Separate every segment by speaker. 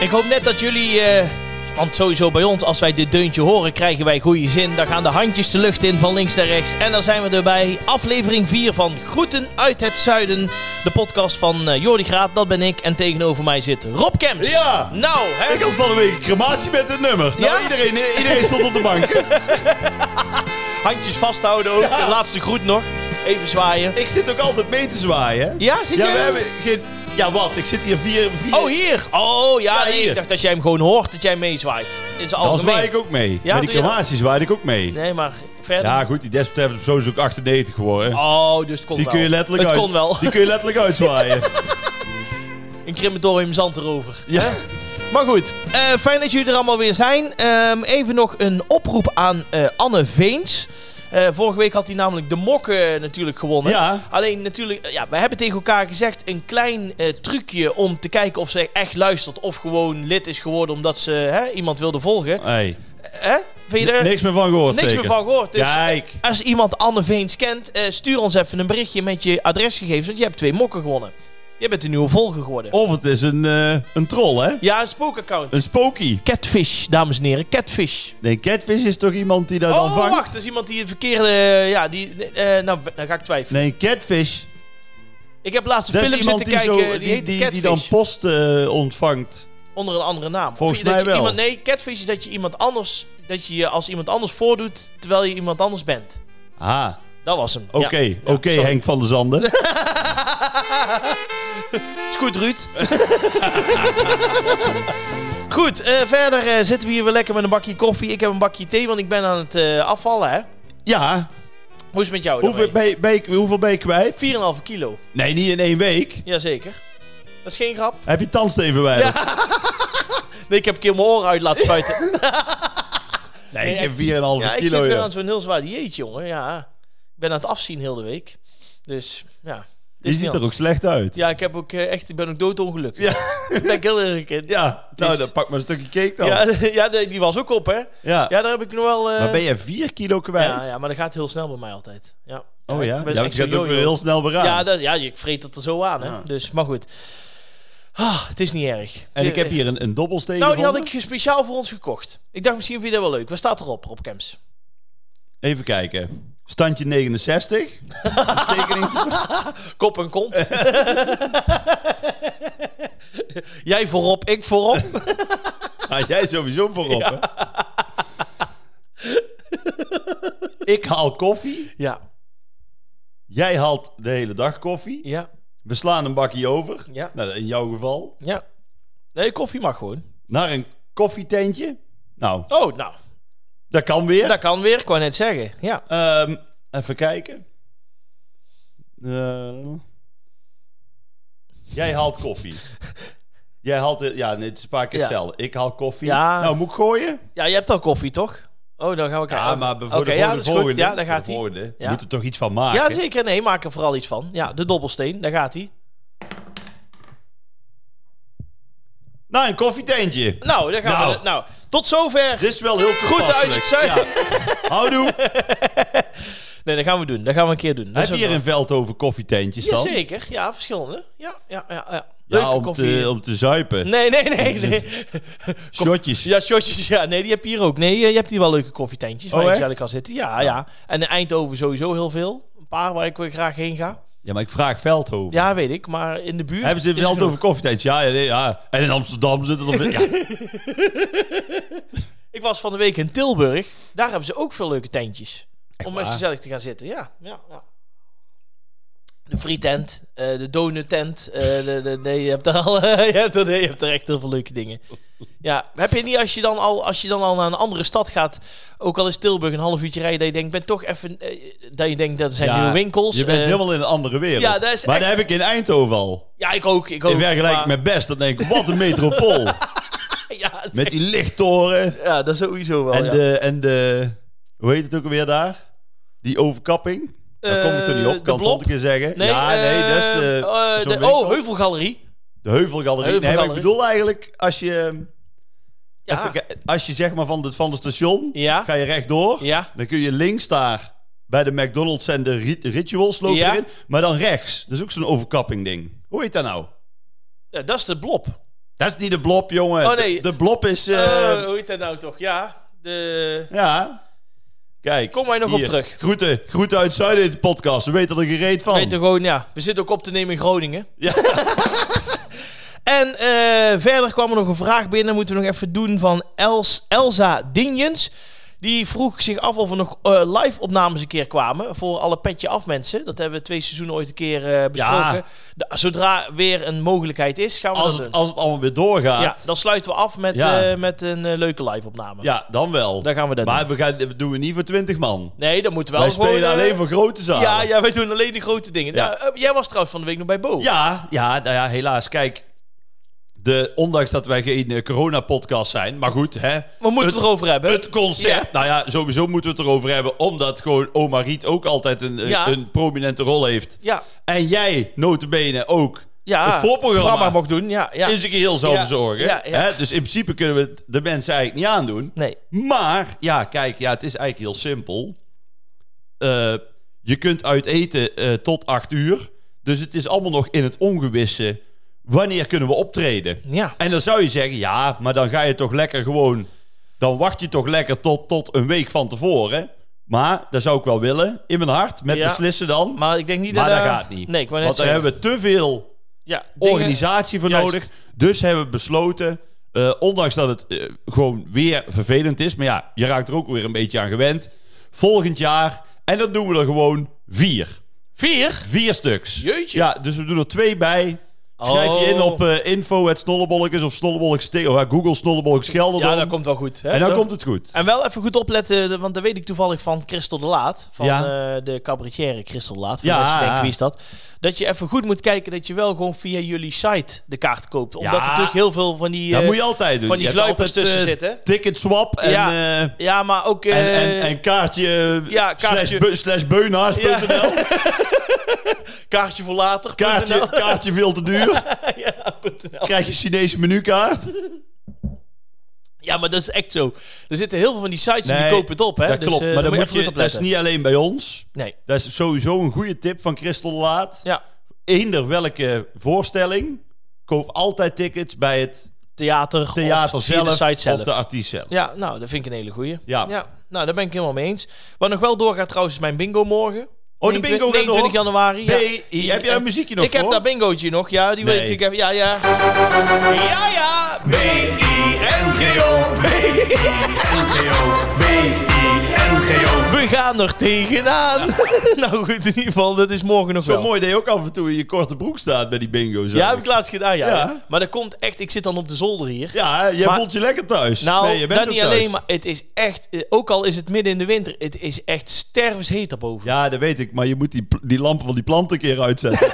Speaker 1: Ik hoop net dat jullie, eh, want sowieso bij ons, als wij dit deuntje horen, krijgen wij goede zin. Daar gaan de handjes de lucht in van links naar rechts. En daar zijn we erbij. Aflevering 4 van Groeten uit het Zuiden. De podcast van eh, Jordi Graat, dat ben ik. En tegenover mij zit Rob Kemps.
Speaker 2: Ja.
Speaker 1: Nou, hè.
Speaker 2: Ik had van een week crematie met het nummer. Nou,
Speaker 1: Ja?
Speaker 2: iedereen, iedereen stond op de bank.
Speaker 1: handjes vasthouden ook.
Speaker 2: Ja.
Speaker 1: De laatste groet nog. Even zwaaien.
Speaker 2: Ik zit ook altijd mee te zwaaien. hè?
Speaker 1: Ja, zit
Speaker 2: Ja,
Speaker 1: jij?
Speaker 2: we hebben geen... Ja, wat? Ik zit hier vier... vier...
Speaker 1: Oh, hier. Oh, ja,
Speaker 2: Ja,
Speaker 1: nee,
Speaker 2: hier.
Speaker 1: ik dacht dat jij hem gewoon hoort, dat jij meezwaait. In zijn
Speaker 2: Dan
Speaker 1: algemeen.
Speaker 2: zwaai ik ook mee.
Speaker 1: Ja,
Speaker 2: met die
Speaker 1: doe je dat?
Speaker 2: crematie zwaaide ik ook mee.
Speaker 1: Nee, maar verder.
Speaker 2: Ja, goed. Die desbetreffende persoon is ook 98 geworden.
Speaker 1: Oh, dus het kon
Speaker 2: die
Speaker 1: wel.
Speaker 2: kun je letterlijk
Speaker 1: het
Speaker 2: uit...
Speaker 1: kon wel.
Speaker 2: Die kun je letterlijk uitzwaaien.
Speaker 1: Een crematorium zand erover.
Speaker 2: ja.
Speaker 1: Maar goed, eh, fijn dat jullie er allemaal weer zijn. Ehm, even nog een oproep aan eh, Anne Veens. Eh, vorige week had hij namelijk de mokken eh, natuurlijk gewonnen.
Speaker 2: Ja.
Speaker 1: Alleen natuurlijk, eh, ja, we hebben tegen elkaar gezegd een klein eh, trucje om te kijken of ze echt luistert of gewoon lid is geworden omdat ze hè, iemand wilde volgen.
Speaker 2: Hey.
Speaker 1: Hè? Vind je er
Speaker 2: Niks meer van gehoord
Speaker 1: niks meer
Speaker 2: zeker.
Speaker 1: van gehoord? Dus
Speaker 2: Kijk.
Speaker 1: als iemand Anne Veens kent, eh, stuur ons even een berichtje met je adresgegevens, want je hebt twee mokken gewonnen. Je bent een nieuwe volger geworden.
Speaker 2: Of het is een, eh, een troll, hè?
Speaker 1: Ja, een spookaccount.
Speaker 2: Een spooky.
Speaker 1: Catfish, dames en heren, catfish.
Speaker 2: Nee, catfish is toch iemand die dat dan
Speaker 1: Oh,
Speaker 2: vangt?
Speaker 1: wacht, dat is iemand die het verkeerde... eh, ja, die... eh, nou, dan ga ik twijfelen.
Speaker 2: Nee, catfish.
Speaker 1: Ik heb laatst een
Speaker 2: Dat is
Speaker 1: film
Speaker 2: iemand
Speaker 1: zitten
Speaker 2: die,
Speaker 1: kijken, die,
Speaker 2: zo, die,
Speaker 1: heet
Speaker 2: die, die
Speaker 1: Catfish.
Speaker 2: dan post eh, ontvangt.
Speaker 1: onder een andere naam.
Speaker 2: Volgens
Speaker 1: Of je- dat
Speaker 2: mij
Speaker 1: je
Speaker 2: wel.
Speaker 1: Iemand, nee, catfish is dat je iemand anders... Dat je je als iemand anders voordoet, terwijl je iemand anders bent.
Speaker 2: Ah,
Speaker 1: Dat was hem.
Speaker 2: oké,
Speaker 1: Ja.
Speaker 2: oké
Speaker 1: sorry.
Speaker 2: Henk van der Zanden.
Speaker 1: Is goed, Ruud. goed, eh, verder eh, zitten we hier weer lekker met een bakje koffie. Ik heb een bakje thee, want ik ben aan het eh, afvallen, hè.
Speaker 2: Ja,
Speaker 1: Hoe is het met jou?
Speaker 2: hoeveel ben, je, ben je- hoeveel ben je kwijt?
Speaker 1: 4,5 kilo.
Speaker 2: Nee, niet in één week.
Speaker 1: Jazeker. Dat is geen grap.
Speaker 2: Heb je tandsteven bij?
Speaker 1: Nee, ik heb een keer mijn oren uit laten spuiten.
Speaker 2: Nee, ik
Speaker 1: Nee,
Speaker 2: heb 4,5
Speaker 1: ja, ik
Speaker 2: kilo.
Speaker 1: zit weer
Speaker 2: ja.
Speaker 1: aan zo'n heel zwaar dieet, jongen. Ja. Ik ben aan het afzien heel de week. Dus, ja. het
Speaker 2: Je
Speaker 1: is
Speaker 2: ziet
Speaker 1: niet
Speaker 2: er ook
Speaker 1: anders.
Speaker 2: slecht uit.
Speaker 1: Ja, ik, heb ook, eh, echt, ik ben ook doodongelukkig.
Speaker 2: Ja.
Speaker 1: Daar ben ik heel erg in.
Speaker 2: Ja, nou,
Speaker 1: Dus-
Speaker 2: dan pak maar een stukje cake dan.
Speaker 1: Ja,
Speaker 2: Ja.
Speaker 1: ja, die die was ook op, hè? Ja, daar heb ik nog wel... eh,
Speaker 2: Maar ben je 4 kilo kwijt?
Speaker 1: ja, ja, maar dat gaat heel snel bij mij altijd. Ja.
Speaker 2: Oh ja,
Speaker 1: ik
Speaker 2: ja,
Speaker 1: ben
Speaker 2: ik
Speaker 1: echt
Speaker 2: zit
Speaker 1: zo'n
Speaker 2: ook weer
Speaker 1: jojo.
Speaker 2: heel snel beraad.
Speaker 1: Ja, dat, ja, ik vreet het er zo aan, hè.
Speaker 2: Ja.
Speaker 1: Dus, maar goed. Ah, het is niet erg.
Speaker 2: en ik
Speaker 1: Eh,
Speaker 2: heb hier een, een dobbelsteen
Speaker 1: Nou, die had
Speaker 2: gevonden.
Speaker 1: ik speciaal voor ons gekocht. Ik dacht, misschien vind je dat wel leuk. Wat staat erop, Rob Kemps?
Speaker 2: Even kijken. Standje 69. Tekening te-
Speaker 1: Kop en kont. Jij voorop, ik voorop.
Speaker 2: Ah, jij sowieso voorop, hè? Ik haal koffie.
Speaker 1: Ja,
Speaker 2: Jij haalt de hele dag koffie.
Speaker 1: ja,
Speaker 2: We slaan een bakje over.
Speaker 1: Ja.
Speaker 2: Nou, in jouw geval.
Speaker 1: ja. Nee, koffie mag gewoon.
Speaker 2: Naar een koffietentje. Nou,
Speaker 1: Oh, nou,
Speaker 2: dat kan weer.
Speaker 1: dat kan weer. Ik wou net zeggen. Ja.
Speaker 2: Ehm, even kijken. Eh, jij haalt koffie. jij haalt... Ja, nee, het is een paar keer
Speaker 1: Ja.
Speaker 2: hetzelfde. Ik haal koffie.
Speaker 1: Ja.
Speaker 2: Nou, moet ik gooien?
Speaker 1: ja, je hebt al koffie, toch? Oh, dan gaan we kijken.
Speaker 2: Ja, maar voor de-
Speaker 1: Oké,
Speaker 2: voor de,
Speaker 1: ja, dat is goed.
Speaker 2: volgende.
Speaker 1: Ja,
Speaker 2: voor
Speaker 1: daar
Speaker 2: de
Speaker 1: gaat hij.
Speaker 2: volgende. Je
Speaker 1: Ja.
Speaker 2: moet er toch iets van maken.
Speaker 1: Ja, zeker. Nee, maak er vooral iets van. Ja, de dobbelsteen. Daar gaat hij.
Speaker 2: Nou, een koffietentje.
Speaker 1: Nou, daar gaan
Speaker 2: Nou.
Speaker 1: we. Nou, tot zover.
Speaker 2: Dit is wel heel
Speaker 1: Groeten uit het
Speaker 2: toepasselijk.
Speaker 1: zuiden.
Speaker 2: Ja. Houdoe.
Speaker 1: Nee, dat gaan we doen. Dat gaan we een keer doen. Dat
Speaker 2: Heb je
Speaker 1: is
Speaker 2: hier
Speaker 1: ook
Speaker 2: in Veldhoven koffietentjes
Speaker 1: wel-
Speaker 2: dan?
Speaker 1: Jazeker. Ja, verschillende. Ja, ja, ja. ja. Leuke
Speaker 2: Ja, om
Speaker 1: koffie.
Speaker 2: te, om te zuipen.
Speaker 1: Nee, nee, nee. nee.
Speaker 2: Shotjes.
Speaker 1: Ja, shotjes, ja. Nee, die heb je hier ook. Nee, eh, je hebt hier wel leuke koffietentjes waar
Speaker 2: Oh,
Speaker 1: je
Speaker 2: echt?
Speaker 1: gezellig kan zitten. Ja, ja. En in Eindhoven sowieso heel veel. Een paar waar ik weer graag heen ga.
Speaker 2: Ja, maar ik vraag Veldhoven.
Speaker 1: Ja, weet ik. Maar in de buurt...
Speaker 2: Hebben ze in
Speaker 1: is genoeg.
Speaker 2: Veldhoven koffietentjes? Ja, ja, nee, ja. En in Amsterdam zitten er nog... Ja.
Speaker 1: Ik was van de week in Tilburg. Daar hebben ze ook veel leuke tentjes. om echt
Speaker 2: waar?
Speaker 1: gezellig te gaan zitten. Ja, ja, ja. De frietent, eh de donuttent. eh, de, de, nee, je hebt er al... je, hebt er, nee, je hebt er echt heel veel leuke dingen. Ja, heb je niet als je dan al, als je dan al naar een andere stad gaat... Ook al is Tilburg een half uurtje rijden... Dat je denkt, ben toch even... eh, dat je denkt, dat zijn
Speaker 2: Ja,
Speaker 1: nieuwe winkels.
Speaker 2: Je bent
Speaker 1: eh,
Speaker 2: helemaal in een andere wereld.
Speaker 1: ja, dat is
Speaker 2: maar
Speaker 1: echt-
Speaker 2: dat heb ik in Eindhoven al.
Speaker 1: Ja, ik ook. Ik ook.
Speaker 2: In vergelijking
Speaker 1: maar-
Speaker 2: met Best, dan denk ik, wat een metropool.
Speaker 1: Ja, dat is
Speaker 2: met
Speaker 1: echt-
Speaker 2: die lichttoren
Speaker 1: ja, dat sowieso wel,
Speaker 2: en,
Speaker 1: ja.
Speaker 2: de, en de... Hoe heet het ook alweer daar? Die overkapping? Daar kom ik toch niet
Speaker 1: Eh,
Speaker 2: op,
Speaker 1: de
Speaker 2: kan
Speaker 1: Blob?
Speaker 2: het een keer zeggen. ja,
Speaker 1: eh,
Speaker 2: nee, dat is eh,
Speaker 1: eh,
Speaker 2: zo'n
Speaker 1: de-
Speaker 2: winkel.
Speaker 1: Oh, Heuvelgalerie.
Speaker 2: de Heuvelgalerie. Nee, maar ik
Speaker 1: Heuvelgalerie.
Speaker 2: bedoel eigenlijk, als je...
Speaker 1: Ja.
Speaker 2: Even ki- als je zeg maar van het, van het station,
Speaker 1: Ja.
Speaker 2: ga je rechtdoor.
Speaker 1: Ja.
Speaker 2: Dan kun je links daar bij de McDonald's en de rit- rituals lopen
Speaker 1: Ja.
Speaker 2: erin. Maar dan rechts. Dat is ook zo'n overkapping ding. Hoe heet dat nou?
Speaker 1: Ja, dat is de blob.
Speaker 2: Dat is niet de blob, jongen.
Speaker 1: Oh, nee.
Speaker 2: De, de blob is... eh,
Speaker 1: Eh, hoe heet dat nou toch? Ja, de...
Speaker 2: Ja. Kijk.
Speaker 1: Kom maar nog op
Speaker 2: hier.
Speaker 1: terug.
Speaker 2: Groeten. Groeten uit Zuiden in de podcast. We weten er gereed van.
Speaker 1: Weet je gewoon, ja. We zitten ook op te nemen in Groningen.
Speaker 2: Ja.
Speaker 1: en eh, verder kwam er nog een vraag binnen. Moeten we nog even doen van Els, Elsa Dinjens. Die vroeg zich af of er nog eh, live-opnames een keer kwamen. Voor alle petje af mensen. Dat hebben we twee seizoenen ooit een keer eh, besproken.
Speaker 2: Ja.
Speaker 1: Da- zodra weer een mogelijkheid is, gaan we
Speaker 2: Als
Speaker 1: dat
Speaker 2: het,
Speaker 1: doen.
Speaker 2: als het allemaal weer doorgaat.
Speaker 1: Ja, dan sluiten we af met,
Speaker 2: Ja.
Speaker 1: eh, met een eh, leuke live-opname.
Speaker 2: Ja, dan wel.
Speaker 1: Dan gaan we dat doen.
Speaker 2: maar we gaan, dat doen we niet voor 20 man.
Speaker 1: Nee, dan moeten we wel
Speaker 2: Wij spelen
Speaker 1: gewoon... eh,
Speaker 2: alleen voor grote zalen.
Speaker 1: ja, ja, wij doen alleen de grote dingen.
Speaker 2: Ja.
Speaker 1: Nou, eh, jij was trouwens van de week nog bij Bo.
Speaker 2: Ja, ja, nou ja, helaas. Kijk, de, ondanks dat wij geen eh, corona-podcast zijn, maar goed, hè.
Speaker 1: We moeten het erover hebben.
Speaker 2: Het concert,
Speaker 1: Ja.
Speaker 2: nou ja, sowieso moeten we het erover hebben, omdat gewoon Oma Riet ook altijd een, eh,
Speaker 1: Ja.
Speaker 2: een prominente rol heeft.
Speaker 1: ja,
Speaker 2: En jij, notabene, ook
Speaker 1: ja,
Speaker 2: het voorprogramma
Speaker 1: Programma mocht doen, ja. ja.
Speaker 2: in zijn geheel zou
Speaker 1: Ja.
Speaker 2: verzorgen.
Speaker 1: Ja, ja.
Speaker 2: Hè? Dus in principe kunnen we het de mensen eigenlijk niet aandoen.
Speaker 1: Nee.
Speaker 2: Maar, ja, kijk, ja, het is eigenlijk heel simpel. Eh, je kunt uit eten eh, tot acht uur. Dus het is allemaal nog in het ongewisse. Wanneer kunnen we optreden?
Speaker 1: Ja.
Speaker 2: En dan zou je zeggen, ja, maar dan ga je toch lekker gewoon... Dan wacht je toch lekker tot, tot een week van tevoren. Maar, dat zou ik wel willen, in mijn hart, met
Speaker 1: Ja.
Speaker 2: beslissen dan. Maar,
Speaker 1: Maar ik denk niet
Speaker 2: dat
Speaker 1: dat... eh,
Speaker 2: gaat niet.
Speaker 1: Nee, ik wou net
Speaker 2: Want daar
Speaker 1: zeggen.
Speaker 2: hebben we te veel
Speaker 1: ja, dingen-
Speaker 2: organisatie voor
Speaker 1: Juist.
Speaker 2: nodig. Dus hebben we besloten, eh, ondanks dat het eh, gewoon weer vervelend is, maar ja, je raakt er ook weer een beetje aan gewend. Volgend jaar, en dan doen we er gewoon vier.
Speaker 1: Vier?
Speaker 2: Vier stuks.
Speaker 1: Jeetje.
Speaker 2: Ja, dus we doen er twee bij. Schrijf je in
Speaker 1: Oh.
Speaker 2: op eh info het snollebolkes of snollebolkes tegen of, eh, Google snollebolkes Gelderland.
Speaker 1: Ja, dat komt wel goed. Hè,
Speaker 2: eh, en dan
Speaker 1: toch?
Speaker 2: komt het goed.
Speaker 1: En wel even goed opletten, eh, want dat weet ik toevallig van Christel de Laat. Van
Speaker 2: Ja.
Speaker 1: eh, de cabaretière Christel de Laat. Van
Speaker 2: Ja.
Speaker 1: mensen denken, wie is dat? Dat je even goed moet kijken dat je wel gewoon via jullie site de kaart koopt. Omdat
Speaker 2: Ja.
Speaker 1: er natuurlijk heel veel van die...
Speaker 2: dat
Speaker 1: eh,
Speaker 2: moet je altijd doen.
Speaker 1: van die
Speaker 2: Je hebt
Speaker 1: gluipers
Speaker 2: altijd,
Speaker 1: tussen
Speaker 2: eh,
Speaker 1: zitten.
Speaker 2: Ticket swap en,
Speaker 1: Ja.
Speaker 2: eh,
Speaker 1: Ja, maar ook... eh,
Speaker 2: en, en, en kaartje,
Speaker 1: ja, kaartje.
Speaker 2: slash, be- slash beunaars.
Speaker 1: Ja. Kaartje voor later.
Speaker 2: Kaartje, kaartje veel te duur.
Speaker 1: ja, .nl.
Speaker 2: Krijg je Chinese menukaart.
Speaker 1: Ja, maar dat is echt zo. Er zitten heel veel van die sites en
Speaker 2: Nee,
Speaker 1: die kopen het op, hè?
Speaker 2: dat
Speaker 1: Dus,
Speaker 2: klopt,
Speaker 1: eh,
Speaker 2: maar
Speaker 1: daar
Speaker 2: dan moet
Speaker 1: even
Speaker 2: je,
Speaker 1: goed op
Speaker 2: dat dus is
Speaker 1: letten.
Speaker 2: niet alleen bij ons.
Speaker 1: Nee,
Speaker 2: Dat is sowieso een goede tip van Christel de Laat.
Speaker 1: ja.
Speaker 2: Eender welke voorstelling, koop altijd tickets bij het
Speaker 1: Theater,
Speaker 2: theater
Speaker 1: of via
Speaker 2: zelf,
Speaker 1: de site zelf.
Speaker 2: of de artiest zelf.
Speaker 1: Ja, nou, dat vind ik een hele goeie.
Speaker 2: Ja.
Speaker 1: nou, daar ben ik helemaal mee eens. Wat nog wel doorgaat trouwens is mijn bingo morgen.
Speaker 2: Oh, de
Speaker 1: 29
Speaker 2: bingo gaat
Speaker 1: 29
Speaker 2: door.
Speaker 1: januari. ja.
Speaker 2: Nee, heb je daar muziekje nog
Speaker 1: Ik heb
Speaker 2: voor?
Speaker 1: dat bingootje nog, ja. Die wil
Speaker 2: Nee.
Speaker 1: ik natuurlijk even... Ja, ja. Ja, ja.
Speaker 3: B-I-N-G-O, B-I-N-G-O, B-I-N-G-O.
Speaker 1: We gaan er tegenaan. nou goed, in ieder geval, dat is morgen nog
Speaker 2: Zo
Speaker 1: wel.
Speaker 2: mooi dat je ook af en toe in je korte broek staat bij die bingo. zag
Speaker 1: Ja, heb
Speaker 2: ik.
Speaker 1: ik laatst gedaan, ja.
Speaker 2: Ja.
Speaker 1: Maar dat komt echt... Ik zit dan op de zolder hier.
Speaker 2: ja jij
Speaker 1: Maar-
Speaker 2: voelt je lekker thuis.
Speaker 1: Nou,
Speaker 2: nee, je bent
Speaker 1: dat
Speaker 2: ook
Speaker 1: niet
Speaker 2: thuis.
Speaker 1: alleen, maar het is echt... eh, Ook al is het midden in de winter, het is echt stervensheet daarboven.
Speaker 2: Ja, dat weet ik, maar je moet die, pl- die lampen van die planten een keer uitzetten.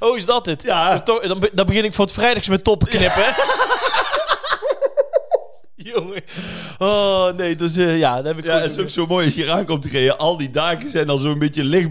Speaker 1: Oh, is dat het?
Speaker 2: Ja.
Speaker 1: Dan, to- dan, be- dan begin ik voor het vrijdags met toppen knippen. Jongen. Oh, nee, dus eh, ja, dat heb ik
Speaker 2: Ja,
Speaker 1: goed
Speaker 2: het is
Speaker 1: doen.
Speaker 2: ook zo mooi als je hier aankomt te rijden. Al die daken zijn al zo'n beetje licht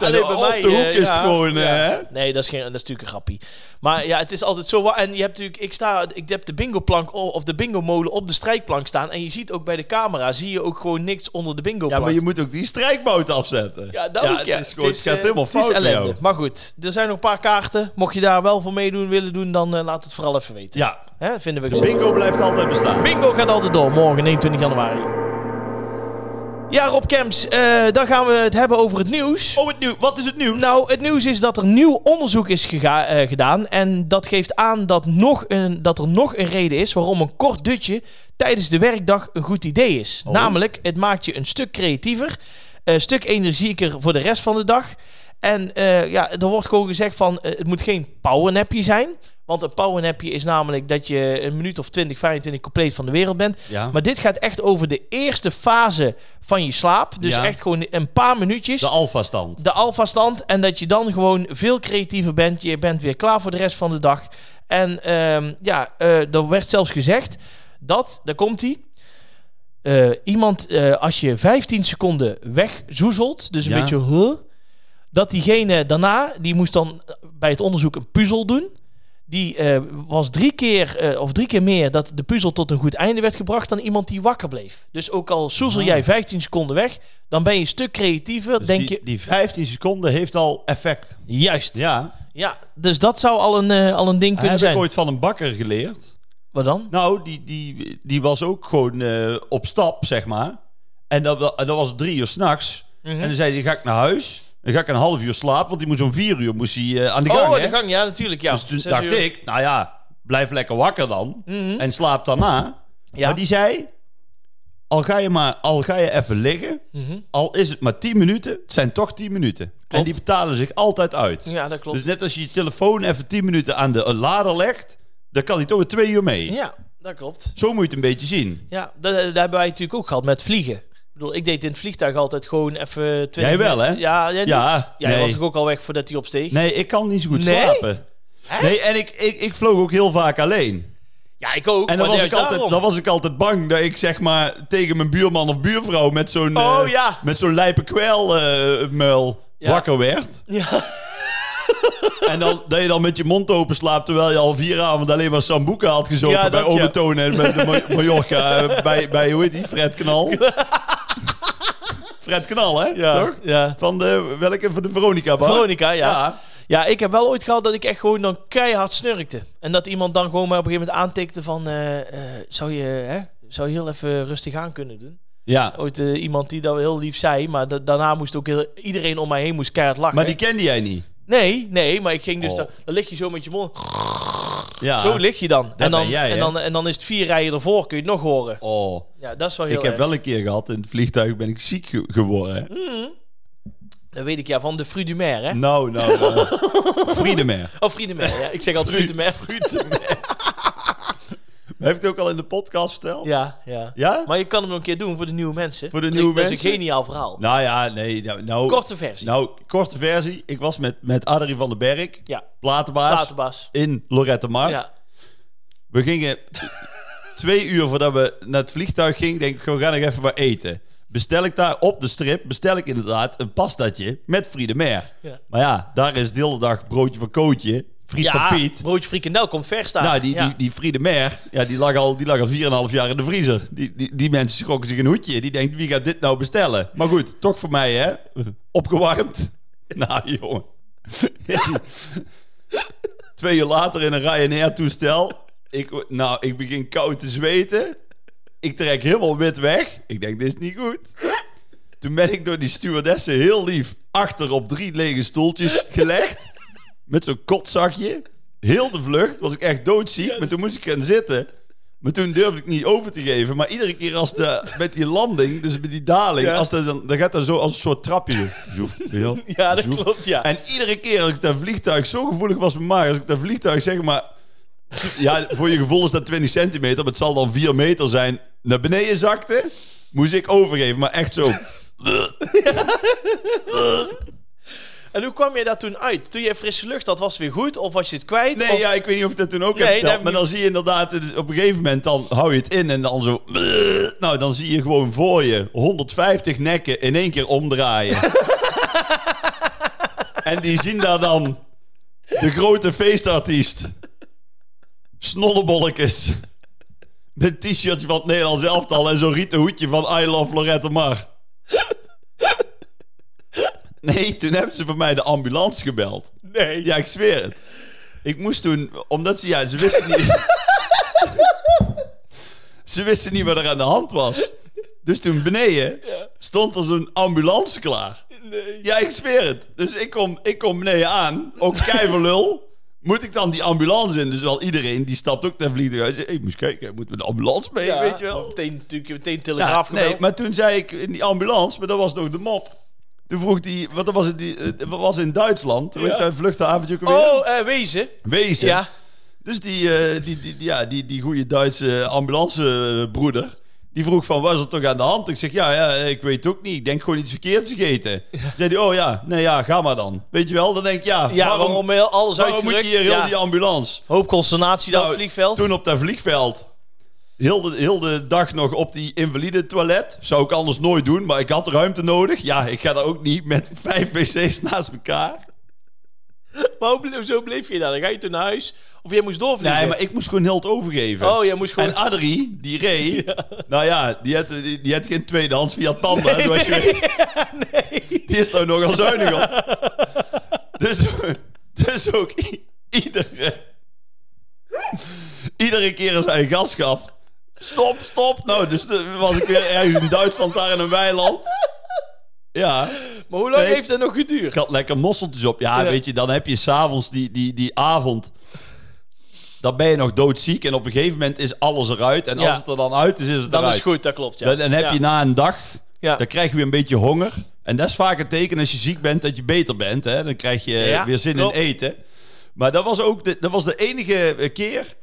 Speaker 1: Ja,
Speaker 2: en
Speaker 1: alleen
Speaker 2: op
Speaker 1: bij mij,
Speaker 2: de hoek
Speaker 1: eh,
Speaker 2: is het
Speaker 1: ja.
Speaker 2: gewoon... eh, hè?
Speaker 1: Nee, dat is, geen, dat is natuurlijk een grappie. Maar ja, het is altijd zo. wa- En je hebt natuurlijk, ik, sta, ik heb de bingo-plank o- of de bingo-molen op de strijkplank staan. En je ziet ook bij de camera, zie je ook gewoon niks onder de
Speaker 2: Ja,
Speaker 1: bingo-plank.
Speaker 2: maar je moet ook die strijkbout afzetten.
Speaker 1: Ja, dat ook,
Speaker 2: het,
Speaker 1: ja.
Speaker 2: is gewoon, het, gaat
Speaker 1: eh,
Speaker 2: helemaal
Speaker 1: het is
Speaker 2: fout met
Speaker 1: ellende.
Speaker 2: jou.
Speaker 1: Maar goed, er zijn nog een paar kaarten. Mocht je daar wel voor meedoen, willen doen, dan eh, laat het vooral even weten.
Speaker 2: Ja,
Speaker 1: Hè, vinden we
Speaker 2: de
Speaker 1: gezellig.
Speaker 2: bingo blijft altijd bestaan.
Speaker 1: Bingo gaat altijd door, morgen 21 januari. Ja, Rob Kemps, eh, dan gaan we het hebben over het nieuws.
Speaker 2: Oh, het nieuws. Wat is het nieuws?
Speaker 1: Nou, het nieuws is dat er nieuw onderzoek is gega- eh, gedaan. En dat geeft aan dat, nog een, dat er nog een reden is waarom een kort dutje tijdens de werkdag een goed idee is.
Speaker 2: Oh.
Speaker 1: Namelijk, het maakt je een stuk creatiever, een stuk energieker voor de rest van de dag. En eh, ja, er wordt gewoon gezegd van eh, het moet geen powernapje zijn. Want een powernapje is namelijk dat je een minuut of 20, 25 compleet van de wereld bent.
Speaker 2: ja.
Speaker 1: Maar dit gaat echt over de eerste fase van je slaap. Dus
Speaker 2: Ja.
Speaker 1: echt gewoon een paar minuutjes
Speaker 2: de Dus alfa-stand.
Speaker 1: de alfa-stand. En dat je dan gewoon veel creatiever bent. Je bent weer klaar voor de rest van de dag. En ehm, ja, eh, er werd zelfs gezegd dat, daar komt hij. iemand, eh, als je 15 seconden wegzoezelt, dus een
Speaker 2: Ja.
Speaker 1: beetje huh, dat diegene daarna, die moest dan eh, bij het onderzoek een puzzel doen. Die eh, was drie keer eh, of drie keer meer dat de puzzel tot een goed einde werd gebracht dan iemand die wakker bleef. Dus ook al soezel
Speaker 2: Ah.
Speaker 1: jij 15 seconden weg, dan ben je een stuk creatiever.
Speaker 2: Dus
Speaker 1: denk
Speaker 2: die,
Speaker 1: je,
Speaker 2: die 15 seconden heeft al effect.
Speaker 1: Juist. Ja.
Speaker 2: Ja.
Speaker 1: Ja, dus dat zou al een, eh, al een ding kunnen
Speaker 2: Heb
Speaker 1: zijn.
Speaker 2: ik ooit van een bakker geleerd.
Speaker 1: Wat dan?
Speaker 2: Nou, die, die, die was ook gewoon eh, op stap, zeg maar. En dat, wa- en dat was drie uur s'nachts.
Speaker 1: Mhm.
Speaker 2: En dan zei hij, ga ik naar huis. Dan ga ik een half uur slapen, want die moest om vier uur moest hij, eh, aan de gang.
Speaker 1: Oh,
Speaker 2: hè?
Speaker 1: de gang. Ja, natuurlijk. Ja.
Speaker 2: Dus toen
Speaker 1: Zes
Speaker 2: dacht
Speaker 1: uur.
Speaker 2: ik, nou ja, blijf lekker wakker dan.
Speaker 1: Mhm.
Speaker 2: En slaap daarna.
Speaker 1: Ja.
Speaker 2: Maar die zei, al ga, je maar, al ga je even liggen,
Speaker 1: Mhm.
Speaker 2: al is het maar 10 minuten, het zijn toch 10 minuten. En
Speaker 1: Klopt.
Speaker 2: die betalen zich altijd uit.
Speaker 1: Ja, dat klopt.
Speaker 2: Dus net als je je telefoon even 10 minuten aan de eh, lader legt, dan kan hij toch weer 2 uur mee.
Speaker 1: Ja, dat klopt.
Speaker 2: Zo moet je het een beetje zien.
Speaker 1: Ja, dat, dat hebben wij natuurlijk ook gehad met vliegen. Ik bedoel, ik deed in het vliegtuig altijd gewoon even... 20
Speaker 2: Jij wel, hè?
Speaker 1: minuten- Ja, jij, ja,
Speaker 2: Ja,
Speaker 1: jij was
Speaker 2: nee.
Speaker 1: toch ook al weg voordat hij opsteeg?
Speaker 2: nee, ik kan niet zo goed
Speaker 1: Nee?
Speaker 2: slapen. Nee, en ik, ik, ik vloog ook heel vaak alleen.
Speaker 1: Ja, ik ook.
Speaker 2: En dan
Speaker 1: maar
Speaker 2: was, ik
Speaker 1: juist
Speaker 2: altijd, dan
Speaker 1: daarom.
Speaker 2: was ik altijd bang dat ik zeg maar tegen mijn buurman of buurvrouw met zo'n eh,
Speaker 1: Oh, ja.
Speaker 2: met zo'n lijpe kwelmuil
Speaker 1: Ja.
Speaker 2: wakker werd.
Speaker 1: Ja,
Speaker 2: en dan, dat je dan met je mond open slaapt terwijl je al vier avonden alleen maar sambuca had gezopen
Speaker 1: Ja,
Speaker 2: bij
Speaker 1: dat, ja.
Speaker 2: Obertoon en bij de Ma- Mallorca. eh, bij, bij, hoe heet die? Fred Knal. Fred Knal, hè? Toch?
Speaker 1: ja.
Speaker 2: Van de, welke? Van de Veronica Bar?
Speaker 1: Veronica, ja. ja.
Speaker 2: Ja.
Speaker 1: ik heb wel ooit gehad dat ik echt gewoon dan keihard snurkte. En dat iemand dan gewoon maar op een gegeven moment aantikte van... eh, eh, zou, je, hè, zou je heel even rustig aan kunnen doen?
Speaker 2: ja.
Speaker 1: Ooit eh, iemand die dat heel lief zei, maar da- daarna moest ook heel, iedereen om mij heen moest keihard lachen.
Speaker 2: Maar die kende jij niet.
Speaker 1: Nee, nee, maar ik ging dus...
Speaker 2: Oh.
Speaker 1: Dan, dan lig je zo met je mond...
Speaker 2: Ja.
Speaker 1: Zo lig je dan. En dan,
Speaker 2: ben jij,
Speaker 1: en,
Speaker 2: hè?
Speaker 1: dan, en dan is het vier rijen ervoor, kun je het nog horen.
Speaker 2: Oh.
Speaker 1: Ja, dat is wel heel
Speaker 2: Ik heb
Speaker 1: erg.
Speaker 2: wel een keer gehad, in het vliegtuig ben ik ziek ge- geworden. hè.
Speaker 1: Dat weet ik ja, van de Frudumer, hè?
Speaker 2: Nou, nou, nou. Friedemer.
Speaker 1: Oh, Frudumer, ja. Ik zeg altijd Frudumer.
Speaker 2: Friedemer. We hebben het ook al in de podcast verteld.
Speaker 1: Ja, ja.
Speaker 2: Ja?
Speaker 1: Maar je kan hem nog een keer doen voor de nieuwe mensen.
Speaker 2: Voor de
Speaker 1: Want
Speaker 2: nieuwe
Speaker 1: ik- dat
Speaker 2: mensen?
Speaker 1: is een geniaal verhaal.
Speaker 2: Nou ja, nee. Nou, nou,
Speaker 1: Korte versie.
Speaker 2: Nou, korte versie. Ik was met, met Adrie van den Berg,
Speaker 1: ja,
Speaker 2: platenbaas,
Speaker 1: later Bas.
Speaker 2: in Lorette Mar.
Speaker 1: Ja.
Speaker 2: We gingen twee uur voordat we naar het vliegtuig gingen, denk ik, we gaan nog even wat eten. Bestel ik daar op de strip, bestel ik inderdaad een pastatje met Friedemer.
Speaker 1: Ja.
Speaker 2: Maar ja, daar is de hele dag broodje van Kootje, friet
Speaker 1: ja,
Speaker 2: van Piet.
Speaker 1: broodje frikandel komt ver staan.
Speaker 2: Nou, die,
Speaker 1: ja.
Speaker 2: die, die Friedemer, ja, die lag al, die lag al 4,5 jaar in de vriezer. Die, die, die mensen schrokken zich een hoedje. Die denkt, wie gaat dit nou bestellen? Maar goed, toch voor mij, hè? Opgewarmd. Nou, jongen. Twee uur later in een Ryanair-toestel. Ik, nou, ik begin koud te zweten. Ik trek helemaal wit weg. Ik denk, dit is niet goed. Toen ben ik door die stewardessen heel lief achter op drie lege stoeltjes gelegd. Met zo'n kotzakje. Heel de vlucht was ik echt doodziek.
Speaker 1: dus-
Speaker 2: Maar toen moest ik gaan zitten. Maar toen durfde ik niet over te geven. Maar iedere keer als de, met die landing, dus met die daling, als dat dan, dan gaat dat zo als een soort trapje. Zoef, heel,
Speaker 1: ja, dat
Speaker 2: zoef.
Speaker 1: klopt, ja.
Speaker 2: En iedere keer als ik dat vliegtuig, zo gevoelig was mijn maag, als ik dat vliegtuig zeg maar... Ja, voor je gevoel is dat 20 centimeter, maar het zal dan 4 meter zijn. Naar beneden zakte, moest ik overgeven, maar echt zo.
Speaker 1: En hoe kwam je daar toen uit? Toen je frisse lucht had, was het weer goed? Of was je het kwijt?
Speaker 2: Nee,
Speaker 1: of...
Speaker 2: ja, ik weet niet of ik dat toen ook
Speaker 1: Nee,
Speaker 2: heb
Speaker 1: dat heb
Speaker 2: verteld,
Speaker 1: ik
Speaker 2: maar dan zie je inderdaad, eh, op een gegeven moment dan hou je het in en dan zo... Nou, dan zie je gewoon voor je 150 nekken in één keer omdraaien. en die zien daar dan de grote feestartiest. Snollebolletjes. Met een t-shirtje van het Nederlands elftal en zo'n rieten hoedje van I love Lorette Mar. Nee, toen hebben ze voor mij de ambulance gebeld.
Speaker 1: Nee.
Speaker 2: Ja, ik zweer het. Ik moest toen, omdat ze, ja, ze wisten niet. ze wisten niet wat er aan de hand was. Dus toen beneden
Speaker 1: Ja.
Speaker 2: stond er zo'n ambulance klaar.
Speaker 1: Nee.
Speaker 2: Ja, ik zweer het. Dus ik kom, ik kom beneden aan, ook lul. Moet ik dan die ambulance in? Dus wel iedereen die stapt ook naar vliegtuig. uit. Hij zegt, Ik moest kijken, moet met de ambulance mee,
Speaker 1: Ja,
Speaker 2: weet je wel.
Speaker 1: Meteen, natuurlijk, meteen
Speaker 2: Ja,
Speaker 1: telegraaf
Speaker 2: nee,
Speaker 1: gebeld.
Speaker 2: maar toen zei ik in die ambulance, maar dat was nog de mop. Toen vroeg die, wat was het, die, eh, wat was in Duitsland? Hoe heet
Speaker 1: Ja.
Speaker 2: dat vluchthaventje ook alweer?
Speaker 1: Oh, eh, wezen.
Speaker 2: Wezen.
Speaker 1: Ja.
Speaker 2: Dus die, eh, die, die, die- ja, die, die goede Duitse ambulancebroeder, die vroeg van, was er toch aan de hand? Ik zeg, ja, ja, ik weet het ook niet. Ik denk gewoon iets verkeerds gegeten. Zei die, oh ja, nee ja, ga maar dan. Weet je wel, dan denk ik, ja,
Speaker 1: Ja, waarom, heel alles
Speaker 2: waarom moet je
Speaker 1: uitgedrukt?
Speaker 2: hier heel
Speaker 1: Ja.
Speaker 2: die ambulance?
Speaker 1: Hoop consternatie daar op
Speaker 2: Nou,
Speaker 1: het vliegveld.
Speaker 2: Toen op dat vliegveld. Heel de, heel de dag nog op die invalide toilet. Zou ik anders nooit doen, maar ik had ruimte nodig. Ja, ik ga daar ook niet met vijf wc's naast elkaar.
Speaker 1: Maar hoe ble- zo bleef je daar? Dan ga je toen naar huis. Of jij moest doorvliegen?
Speaker 2: Nee, maar ik moest gewoon heel het overgeven.
Speaker 1: Oh, jij moest gewoon...
Speaker 2: En Adrie, die ree, nou ja, die had, die, die had geen tweedehands Fiat Panda. zoals je weet. Die is daar nogal zuinig op. Dus, dus dus ook i- iedere... iedere keer als hij gas gaf... Stop, stop! Nou, dus de- was ik weer ergens in Duitsland daar in een weiland. Ja,
Speaker 1: Maar hoe lang
Speaker 2: Nee.
Speaker 1: heeft dat nog geduurd?
Speaker 2: ik had lekker mosseltjes op. Ja,
Speaker 1: Ja.
Speaker 2: weet je, dan heb je s'avonds die, die, die avond... Dan ben je nog doodziek en op een gegeven moment is alles eruit. En
Speaker 1: Ja.
Speaker 2: als het er dan uit is, is het
Speaker 1: Dan
Speaker 2: eruit.
Speaker 1: is het goed, dat klopt. Ja.
Speaker 2: Dan, dan heb
Speaker 1: Ja.
Speaker 2: je na een dag,
Speaker 1: Ja.
Speaker 2: dan krijg je weer een beetje honger. En dat is vaak een teken als je ziek bent dat je beter bent. Hè? Dan krijg je
Speaker 1: Ja,
Speaker 2: weer zin
Speaker 1: klopt.
Speaker 2: in eten. Maar dat was ook de, dat was de enige eh, keer.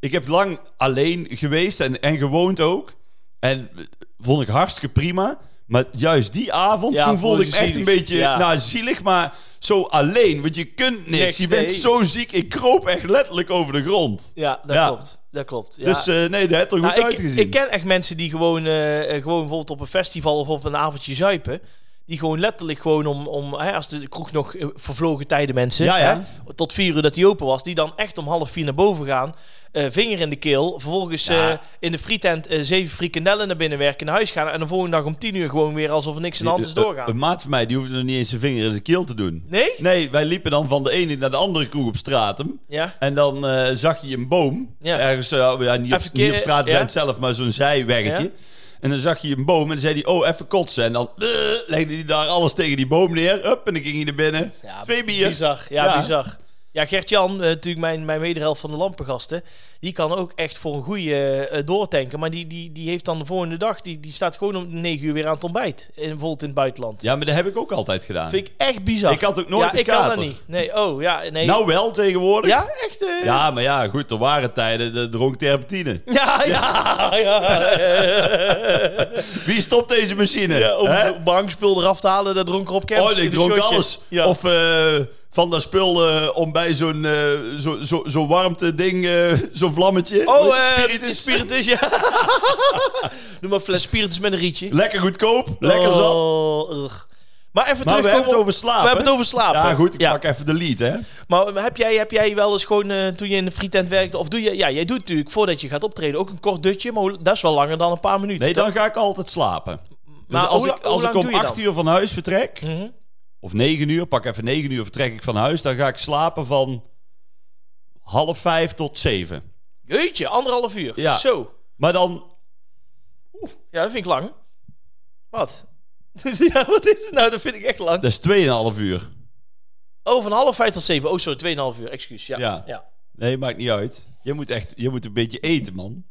Speaker 2: Ik heb lang alleen geweest en, en gewoond ook. En eh, vond ik hartstikke prima. Maar juist die avond,
Speaker 1: Ja,
Speaker 2: toen voelde
Speaker 1: voelde
Speaker 2: ik
Speaker 1: je
Speaker 2: echt een
Speaker 1: zielig.
Speaker 2: beetje
Speaker 1: Ja.
Speaker 2: nou, zielig, maar zo alleen. Want je kunt niks.
Speaker 1: Niks,
Speaker 2: je bent
Speaker 1: nee.
Speaker 2: zo ziek. Ik kroop echt letterlijk over de grond.
Speaker 1: Ja, dat
Speaker 2: Ja.
Speaker 1: klopt. Dat klopt. Ja.
Speaker 2: Dus eh, nee, dat had er goed
Speaker 1: Nou, ik,
Speaker 2: uitgezien.
Speaker 1: ik ken echt mensen die gewoon, eh, eh, gewoon bijvoorbeeld op een festival of op een avondje zuipen. Die gewoon letterlijk gewoon om, om hè, als de kroeg nog eh, vervlogen tijden mensen,
Speaker 2: Ja, ja.
Speaker 1: Hè, tot vier uur dat die open was, die dan echt om half vier naar boven gaan, eh, vinger in de keel, vervolgens
Speaker 2: Ja.
Speaker 1: eh, in de frietent eh, zeven frikandellen naar binnen werken, naar huis gaan en de volgende dag om tien uur gewoon weer alsof er niks aan de hand is
Speaker 2: Een- Dus Een,
Speaker 1: doorgaan.
Speaker 2: maat van mij, die hoefde nog niet eens zijn vinger in de keel te doen.
Speaker 1: Nee?
Speaker 2: Nee, wij liepen dan van de ene naar de andere kroeg op stratum.
Speaker 1: Ja.
Speaker 2: En dan eh, zag je een boom.
Speaker 1: Ja.
Speaker 2: Ergens, eh, ja, niet, op,
Speaker 1: Even
Speaker 2: niet op
Speaker 1: ke-
Speaker 2: straat
Speaker 1: ja.
Speaker 2: bent zelf, maar zo'n zijweggetje.
Speaker 1: Ja.
Speaker 2: En dan zag je een boom en dan zei hij, oh, even kotsen. En dan eh, legde hij daar alles tegen die boom neer. Hup, en dan ging hij naar binnen.
Speaker 1: Ja,
Speaker 2: Twee bier.
Speaker 1: Bizar, ja,
Speaker 2: Ja.
Speaker 1: bizar. Ja, Gert-Jan, eh, natuurlijk mijn, mijn wederhelft van de lampengasten, die kan ook echt voor een goede eh, doortanken. Maar die, die, die heeft dan de volgende dag, die, die staat gewoon om 9 uur weer aan het ontbijt. In, bijvoorbeeld in het buitenland.
Speaker 2: Ja, maar dat heb ik ook altijd gedaan.
Speaker 1: Vind ik echt bizar.
Speaker 2: Ik had ook nooit
Speaker 1: Ja,
Speaker 2: een
Speaker 1: ik kan dat
Speaker 2: kater.
Speaker 1: niet. Nee, oh ja, nee.
Speaker 2: Nou wel tegenwoordig.
Speaker 1: ja, echt. eh,
Speaker 2: Ja, maar ja, goed, er waren tijden, de dronk terpentine.
Speaker 1: Ja, ja, ja.
Speaker 2: Wie stopt deze machine?
Speaker 1: ja om
Speaker 2: Hè?
Speaker 1: het bankspul eraf te halen, dat dronk erop
Speaker 2: Oh, nee, ik dronk alles.
Speaker 1: Ja.
Speaker 2: Of eh, van dat spul eh, om bij zo'n eh, zo, zo, zo'n warmte ding, eh, zo'n vlammetje.
Speaker 1: oh,
Speaker 2: Met
Speaker 1: eh,
Speaker 2: spiritus.
Speaker 1: spiritus, ja. Noem maar fles spiritus met een rietje.
Speaker 2: Lekker goedkoop, lekker zat.
Speaker 1: Oh, ugh. Maar even
Speaker 2: Maar we
Speaker 1: terugkomen
Speaker 2: hebben het
Speaker 1: op-
Speaker 2: over slapen.
Speaker 1: We hebben het over slapen.
Speaker 2: Ja, goed, ik pak even de lead, hè.
Speaker 1: Maar heb jij, heb jij wel eens gewoon eh, toen je in de frietent werkte, of doe je, ja, jij doet natuurlijk voordat je gaat optreden ook een kort dutje, maar hoe- dat is wel langer dan een paar minuten.
Speaker 2: Nee, dan
Speaker 1: toch?
Speaker 2: ga ik altijd slapen. Dus
Speaker 1: Maar
Speaker 2: als
Speaker 1: hoe
Speaker 2: ik,
Speaker 1: la- hoe
Speaker 2: als ik
Speaker 1: lang
Speaker 2: om
Speaker 1: doe je
Speaker 2: 8
Speaker 1: dan?
Speaker 2: uur van huis vertrek,
Speaker 1: Mhm.
Speaker 2: of 9 uur, pak even 9 uur, vertrek ik van huis, dan ga ik slapen van half 5 tot 7.
Speaker 1: Jeetje, anderhalf uur.
Speaker 2: Ja.
Speaker 1: Zo.
Speaker 2: Maar dan
Speaker 1: Ja, dat vind ik lang. Wat? ja, wat is het nou? Dat vind ik echt lang.
Speaker 2: Dat is 2,5 uur.
Speaker 1: Oh, van half vijf tot zeven. Oh, sorry, tweeënhalf uur. Excuus. Ja.
Speaker 2: Ja.
Speaker 1: Ja. ja.
Speaker 2: Nee, maakt niet uit. Je moet echt, je moet een beetje eten, man.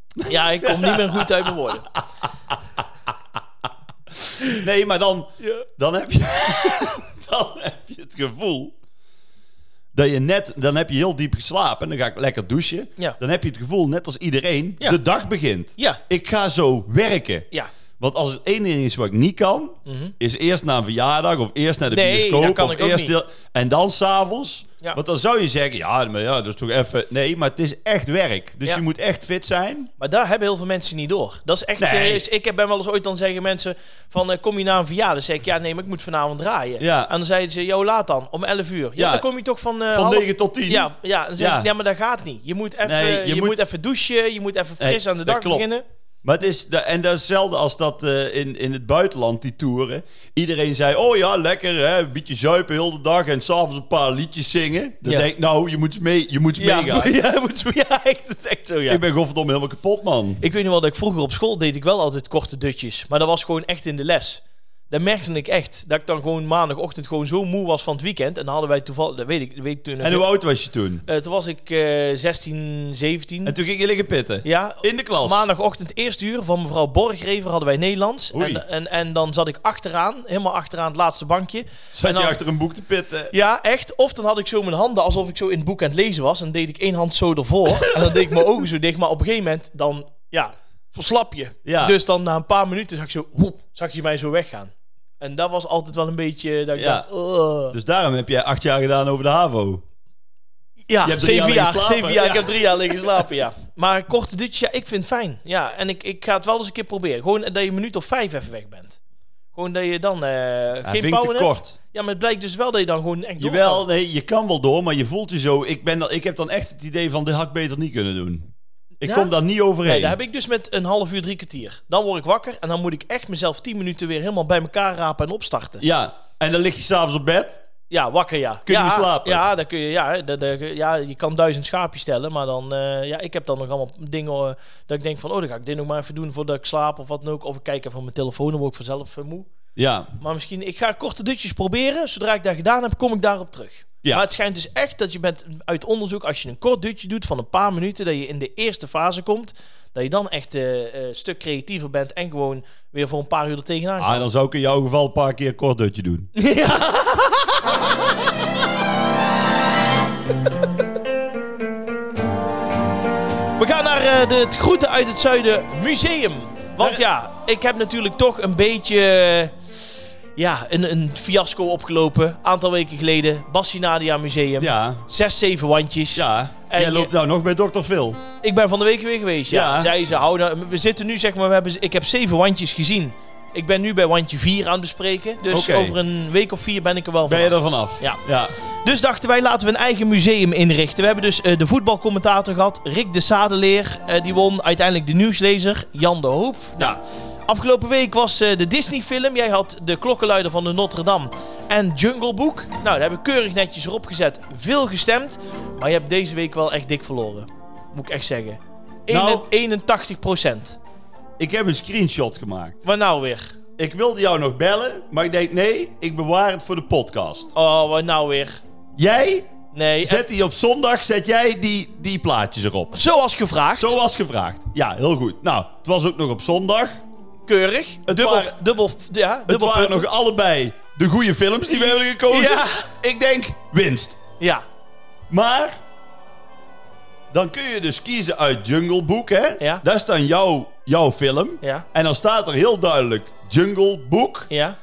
Speaker 1: ik kom niet meer goed uit mijn woorden.
Speaker 2: Nee, maar dan, dan, heb je, dan heb je het gevoel dat je net, dan heb je heel diep geslapen en dan ga ik lekker douchen.
Speaker 1: Ja.
Speaker 2: Dan heb je het gevoel, net als iedereen,
Speaker 1: Ja.
Speaker 2: de dag begint.
Speaker 1: Ja.
Speaker 2: Ik ga zo werken.
Speaker 1: Ja. Mhm.
Speaker 2: Want als het één ding is wat ik niet kan, is eerst naar een verjaardag of eerst naar de
Speaker 1: Nee,
Speaker 2: bioscoop.
Speaker 1: dat kan
Speaker 2: of
Speaker 1: ik ook
Speaker 2: eerst
Speaker 1: niet.
Speaker 2: deel- en dan s'avonds.
Speaker 1: Ja.
Speaker 2: Want dan zou je zeggen, ja, maar ja, dat is toch even... Nee, maar het is echt werk. Dus
Speaker 1: Ja.
Speaker 2: je moet echt fit zijn.
Speaker 1: Maar daar hebben heel veel mensen niet door. Dat is echt
Speaker 2: Nee.
Speaker 1: serieus. Ik heb- ben wel eens ooit dan zeggen mensen van eh, kom je naar een verjaardag? Dan zeg ik ja nee, maar ik moet vanavond draaien.
Speaker 2: Ja.
Speaker 1: En dan zeiden ze joh laat dan om 11 uur. Ja,
Speaker 2: Ja.
Speaker 1: dan kom je toch van eh,
Speaker 2: Van
Speaker 1: half-
Speaker 2: 9 tot 10.
Speaker 1: Ja, ja, dan zeg
Speaker 2: Ja.
Speaker 1: Ik, ja, maar dat gaat niet. Je moet even,
Speaker 2: Nee, je
Speaker 1: je
Speaker 2: moet-
Speaker 1: moet... even douchen, je moet even
Speaker 2: Nee,
Speaker 1: fris aan de
Speaker 2: dat
Speaker 1: dag
Speaker 2: klopt.
Speaker 1: beginnen.
Speaker 2: Maar het is, da- en dat is hetzelfde als dat eh, in, in het buitenland, die toeren. Iedereen zei, oh ja, lekker, hè, een beetje zuipen heel de dag en s'avonds een paar liedjes zingen. Dan
Speaker 1: Ja.
Speaker 2: denk ik, nou, je moet eens mee, je moet eens
Speaker 1: Ja,
Speaker 2: meegaan.
Speaker 1: ja, je moet, ja echt, het is echt zo ja.
Speaker 2: Ik ben godverdomme helemaal kapot, man.
Speaker 1: Ik weet nog wel dat ik vroeger op school deed ik wel altijd korte dutjes. Maar dat was gewoon echt in de les. Dat merkte ik echt. Dat ik dan gewoon maandagochtend gewoon zo moe was van het weekend. En dan hadden wij toevallig, dat weet ik, dat weet ik toen. nog
Speaker 2: En hoe oud was je toen?
Speaker 1: Eh, toen was ik eh 16, 17.
Speaker 2: En toen ging je liggen pitten.
Speaker 1: ja,
Speaker 2: In de klas.
Speaker 1: maandagochtend eerste uur van mevrouw Borgrever hadden wij Nederlands.
Speaker 2: Oei.
Speaker 1: En, en, en dan zat ik achteraan, helemaal achteraan het laatste bankje.
Speaker 2: Zat
Speaker 1: en dan-
Speaker 2: je achter een boek te pitten.
Speaker 1: Ja, echt. Of dan had ik zo mijn handen alsof ik zo in het boek aan het lezen was. En deed ik één hand zo ervoor. en dan deed ik mijn ogen zo dicht. Maar op een gegeven moment dan, ja, verslap je.
Speaker 2: Ja.
Speaker 1: Dus dan na een paar minuten zag ik zo, woep, zag je mij zo weggaan. En dat was altijd wel een beetje, dat ik
Speaker 2: Ja.
Speaker 1: dacht, "Ugh."
Speaker 2: Dus daarom heb jij acht jaar gedaan over de HAVO.
Speaker 1: Ja,
Speaker 2: Je hebt
Speaker 1: zeven
Speaker 2: drie jaar
Speaker 1: jaar.
Speaker 2: liggen slapen.
Speaker 1: Zeven jaar.
Speaker 2: Ja.
Speaker 1: Ik heb drie jaar liggen slapen, ja. Maar korte dutjes, ja, ik vind het fijn. Ja, en ik, ik ga het wel eens een keer proberen. Gewoon dat je een minuut of vijf even weg bent. Gewoon dat je dan eh
Speaker 2: Hij
Speaker 1: geen
Speaker 2: vindt te
Speaker 1: pauwen hebt.
Speaker 2: kort.
Speaker 1: Ja, maar het blijkt dus wel dat je dan gewoon echt door
Speaker 2: Jawel,
Speaker 1: kan.
Speaker 2: nee, je kan wel door, maar je voelt je zo... Ik, ben, dan- ik heb dan echt het idee van, dit had ik beter niet kunnen doen. Ik
Speaker 1: Ja?
Speaker 2: kom daar niet overheen.
Speaker 1: Nee, dat heb ik dus met een half uur, drie kwartier. Dan word ik wakker en dan moet ik echt mezelf tien minuten weer helemaal bij elkaar rapen en opstarten.
Speaker 2: Ja, en dan lig je s'avonds op bed.
Speaker 1: Ja, wakker, ja.
Speaker 2: Kun je
Speaker 1: ja,
Speaker 2: niet slapen?
Speaker 1: Ja, dan kun je, ja, dan- dan- ja, je kan duizend schaapjes stellen, maar dan... eh, ja, ik heb dan nog allemaal dingen eh, dat ik denk van... Oh, dan ga ik dit nog maar even doen voordat ik slaap of wat dan ook. Of ik kijk even op mijn telefoon, dan word ik vanzelf eh, moe.
Speaker 2: Ja,
Speaker 1: Maar misschien... Ik ga korte dutjes proberen. Zodra ik dat gedaan heb, kom ik daarop terug.
Speaker 2: Ja.
Speaker 1: Maar het schijnt dus echt dat je met, uit onderzoek... Als je een kort dutje doet van een paar minuten... Dat je in de eerste fase komt... Dat je dan echt eh, eh, een stuk creatiever bent... En gewoon weer voor een paar uur er tegenaan
Speaker 2: ah,
Speaker 1: gaat.
Speaker 2: dan zou ik in jouw geval een paar keer een kort dutje doen.
Speaker 1: We gaan naar eh, de, het Groeten uit het Zuiden Museum. Want ja, ik heb natuurlijk toch een beetje eh, ja, een, een fiasco opgelopen. Een aantal weken geleden. Bassinadia Museum.
Speaker 2: Ja,
Speaker 1: Zes, zeven wandjes.
Speaker 2: ja.
Speaker 1: En
Speaker 2: Jij
Speaker 1: je-
Speaker 2: loopt nou nog bij dokter Phil.
Speaker 1: Ik ben van de week weer geweest. Ja.
Speaker 2: Ja.
Speaker 1: Zei ze, hou nou, we zitten nu zeg maar, we hebben, ik heb zeven wandjes gezien. Ik ben nu bij wandje vier aan het bespreken. Dus
Speaker 2: Oké.
Speaker 1: over een week of vier ben ik er wel van.
Speaker 2: Ben je er vanaf?
Speaker 1: Ja.
Speaker 2: ja.
Speaker 1: Dus dachten wij, laten we een eigen museum inrichten. We hebben dus eh, de voetbalcommentator gehad, Rick de Sadeleer. eh, die won uiteindelijk de nieuwslezer, Jan de Hoop.
Speaker 2: Ja.
Speaker 1: Afgelopen week was eh, de Disney-film. Jij had De Klokkenluider van de Notre Dame en Jungle Book. Nou, daar heb ik keurig netjes erop gezet. Veel gestemd. Maar je hebt deze week wel echt dik verloren. Moet ik echt zeggen.
Speaker 2: Nou.
Speaker 1: 81 procent.
Speaker 2: Ik heb een screenshot gemaakt.
Speaker 1: Wat nou weer?
Speaker 2: Ik wilde jou nog bellen, maar ik denk nee, ik bewaar het voor de podcast.
Speaker 1: Oh, wat nou weer?
Speaker 2: Jij
Speaker 1: Nee.
Speaker 2: zet die op zondag, zet jij die, die plaatjes erop.
Speaker 1: eh, Zoals gevraagd.
Speaker 2: Zo was gevraagd. Ja, heel goed. Nou, het was ook nog op zondag.
Speaker 1: Keurig.
Speaker 2: Het
Speaker 1: dubbel,
Speaker 2: waren-
Speaker 1: dubbel, ja,
Speaker 2: Het
Speaker 1: dubbel
Speaker 2: waren
Speaker 1: punten.
Speaker 2: nog allebei de goede films die we hebben gekozen.
Speaker 1: Ja.
Speaker 2: Ik denk winst.
Speaker 1: Ja,
Speaker 2: Maar dan kun je dus kiezen uit Jungle Book, hè?
Speaker 1: Ja.
Speaker 2: Daar staat jouw, jouw film.
Speaker 1: ja,
Speaker 2: En dan staat er heel duidelijk Jungle Book.
Speaker 1: ja.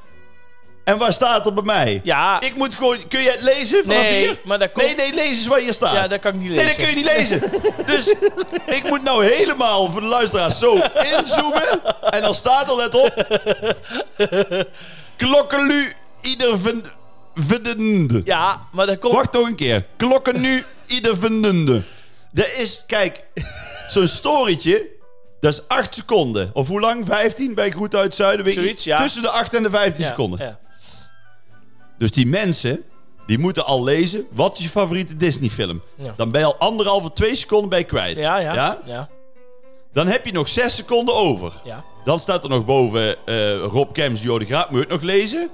Speaker 2: En waar staat er bij mij?
Speaker 1: Ja,
Speaker 2: Ik moet gewoon... Kun je het lezen vanaf
Speaker 1: Nee,
Speaker 2: hier?
Speaker 1: maar dat komt-
Speaker 2: Nee, nee, lees eens waar hier staat.
Speaker 1: ja, dat kan ik niet lezen.
Speaker 2: Nee, dat kun je niet lezen. Dus ik moet nou helemaal voor de luisteraars zo inzoomen. En dan staat er, let op... Klokkelu ieder vind- vindende.
Speaker 1: Ja, maar dat komt...
Speaker 2: Wacht nog een keer. Klokken nu ieder vindende. Dat is, kijk, zo'n storytje, dat is 8 seconden. Of hoe lang? 15 bij Goed Uit Zuiden? Weet ik
Speaker 1: Zoiets,
Speaker 2: niet.
Speaker 1: ja.
Speaker 2: Tussen de 8 en de 15
Speaker 1: Ja,
Speaker 2: seconden.
Speaker 1: ja.
Speaker 2: Dus die mensen, die moeten al lezen, wat is je favoriete Disney film?
Speaker 1: Ja.
Speaker 2: Dan ben je al anderhalve, twee seconden bij kwijt.
Speaker 1: Ja, ja, ja, ja,
Speaker 2: Dan heb je nog 6 seconden over.
Speaker 1: ja.
Speaker 2: Dan staat er nog boven eh, Rob Kems, Jo de Graaf, moet je het nog lezen?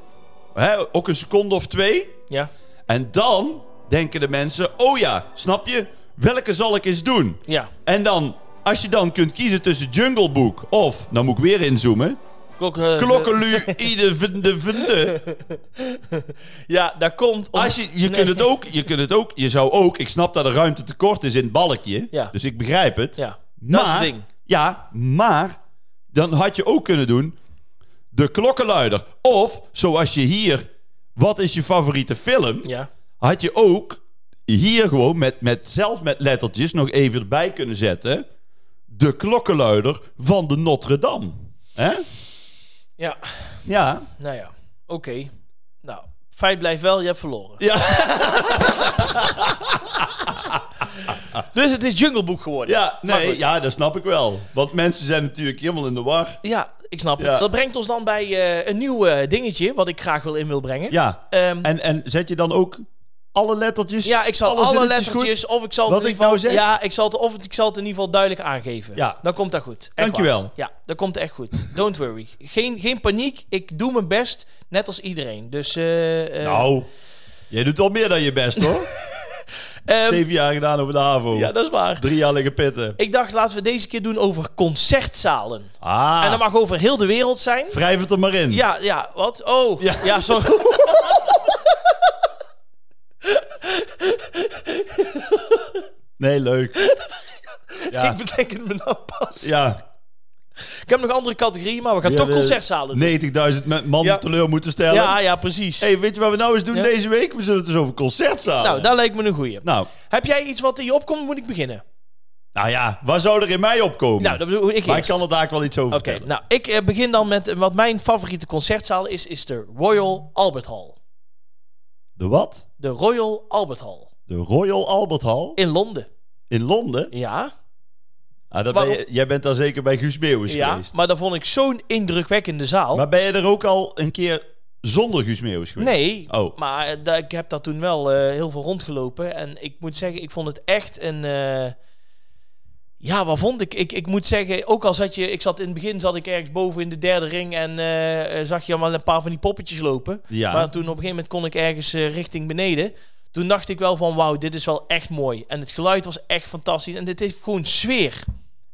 Speaker 2: Hè, ook een seconde of twee.
Speaker 1: Ja,
Speaker 2: En dan denken de mensen: oh ja, snap je? Welke zal ik eens doen?
Speaker 1: ja.
Speaker 2: En dan, als je dan kunt kiezen tussen Jungle Book of, nou moet ik weer inzoomen,
Speaker 1: Klok, eh,
Speaker 2: Klokkelu, Ide, Vinde, Vinde.
Speaker 1: Ja, dat komt... om-
Speaker 2: Als je, je, kunt het ook, je kunt het ook, je zou ook, ik snap dat er ruimte tekort is in het balkje,
Speaker 1: Ja.
Speaker 2: dus ik begrijp het.
Speaker 1: Ja,
Speaker 2: maar,
Speaker 1: dat is het ding.
Speaker 2: Ja, maar dan had je ook kunnen doen de klokkenluider. Of, zoals je hier, wat is je favoriete film?
Speaker 1: Ja,
Speaker 2: had je ook hier gewoon met, met, zelf met lettertjes nog even erbij kunnen zetten. De klokkenluider van de Notre Dame. Hè?
Speaker 1: ja.
Speaker 2: Ja.
Speaker 1: Nou ja, oké. Nou, feit blijft wel, je hebt verloren.
Speaker 2: Ja,
Speaker 1: Dus het is Jungle Book geworden.
Speaker 2: ja,
Speaker 1: Maar
Speaker 2: nee,
Speaker 1: goed.
Speaker 2: ja, dat snap ik wel. Want mensen zijn natuurlijk helemaal in de war.
Speaker 1: Ja, ik snap
Speaker 2: Ja.
Speaker 1: het. Dat brengt ons dan bij eh, een nieuw eh, dingetje, wat ik graag wil in wil brengen.
Speaker 2: Ja,
Speaker 1: Ehm,
Speaker 2: en, en zet je dan ook alle lettertjes?
Speaker 1: ja, ik zal
Speaker 2: alle
Speaker 1: alle
Speaker 2: zinnetjes goed?
Speaker 1: lettertjes, of ik zal
Speaker 2: Wat
Speaker 1: het in
Speaker 2: ik
Speaker 1: ieder geval...
Speaker 2: nou zeg?
Speaker 1: Ja, ik zal het, of het- ik zal het in ieder geval duidelijk aangeven.
Speaker 2: Ja.
Speaker 1: Dan komt dat goed. Echt
Speaker 2: Dankjewel.
Speaker 1: waar. Ja, dat komt echt goed. Don't worry. Geen, geen paniek. Ik doe mijn best, net als iedereen. Dus, eh, eh,
Speaker 2: Nou, jij doet al meer dan je best hoor.
Speaker 1: ehm,
Speaker 2: Zeven jaar gedaan over de HAVO.
Speaker 1: ja, dat is waar.
Speaker 2: Drie jaar liggen pitten.
Speaker 1: Ik dacht, laten we deze keer doen over concertzalen.
Speaker 2: Ah,
Speaker 1: En dat mag over heel de wereld zijn.
Speaker 2: wrijf het er maar in.
Speaker 1: Ja, ja, wat? Oh,
Speaker 2: Ja.
Speaker 1: ja, sorry.
Speaker 2: Nee, leuk. Ja,
Speaker 1: Ik bedenk het me nou pas.
Speaker 2: ja.
Speaker 1: Ik heb nog andere categorieën, maar we gaan
Speaker 2: Ja,
Speaker 1: toch
Speaker 2: we-
Speaker 1: concertzalen doen.
Speaker 2: 90.000 me- man
Speaker 1: Ja.
Speaker 2: teleur moeten stellen.
Speaker 1: Ja, ja, precies.
Speaker 2: hey, weet je wat we nou eens doen
Speaker 1: Ja.
Speaker 2: deze week? We zullen het dus over concertzalen.
Speaker 1: Nou, dat lijkt me een goeie.
Speaker 2: nou,
Speaker 1: Heb jij iets wat in je opkomt, moet ik beginnen?
Speaker 2: nou ja, waar zou er in mij opkomen?
Speaker 1: Nou, dat bedoel ik
Speaker 2: maar ik
Speaker 1: eerst.
Speaker 2: kan er daar ook wel iets over
Speaker 1: Oké,
Speaker 2: vertellen.
Speaker 1: nou, ik eh, begin dan met eh, wat mijn favoriete concertzaal is, is de Royal Albert Hall. nou-
Speaker 2: De wat?
Speaker 1: De Royal Albert Hall.
Speaker 2: De Royal Albert Hall
Speaker 1: In Londen.
Speaker 2: in Londen?
Speaker 1: Ja,
Speaker 2: Ah, dat ben
Speaker 1: Waarom?
Speaker 2: je- jij bent daar zeker bij Guus Meeuwis
Speaker 1: ja
Speaker 2: geweest.
Speaker 1: maar dat vond ik zo'n indrukwekkende zaal.
Speaker 2: Maar ben je er ook al een keer zonder Guus Meeuwis geweest?
Speaker 1: Nee,
Speaker 2: Oh.
Speaker 1: maar eh, da- ik heb daar toen wel eh, heel veel rondgelopen. En ik moet zeggen, ik vond het echt een... eh, ja, wat vond ik? ik? Ik moet zeggen, ook al zat je... Ik zat in het begin zat ik ergens boven in de derde ring... en eh, eh, zag je allemaal een paar van die poppetjes lopen.
Speaker 2: Ja.
Speaker 1: Maar toen op een gegeven moment kon ik ergens eh, richting beneden. Toen dacht ik wel van, wauw, dit is wel echt mooi. En het geluid was echt fantastisch. En dit heeft gewoon sfeer.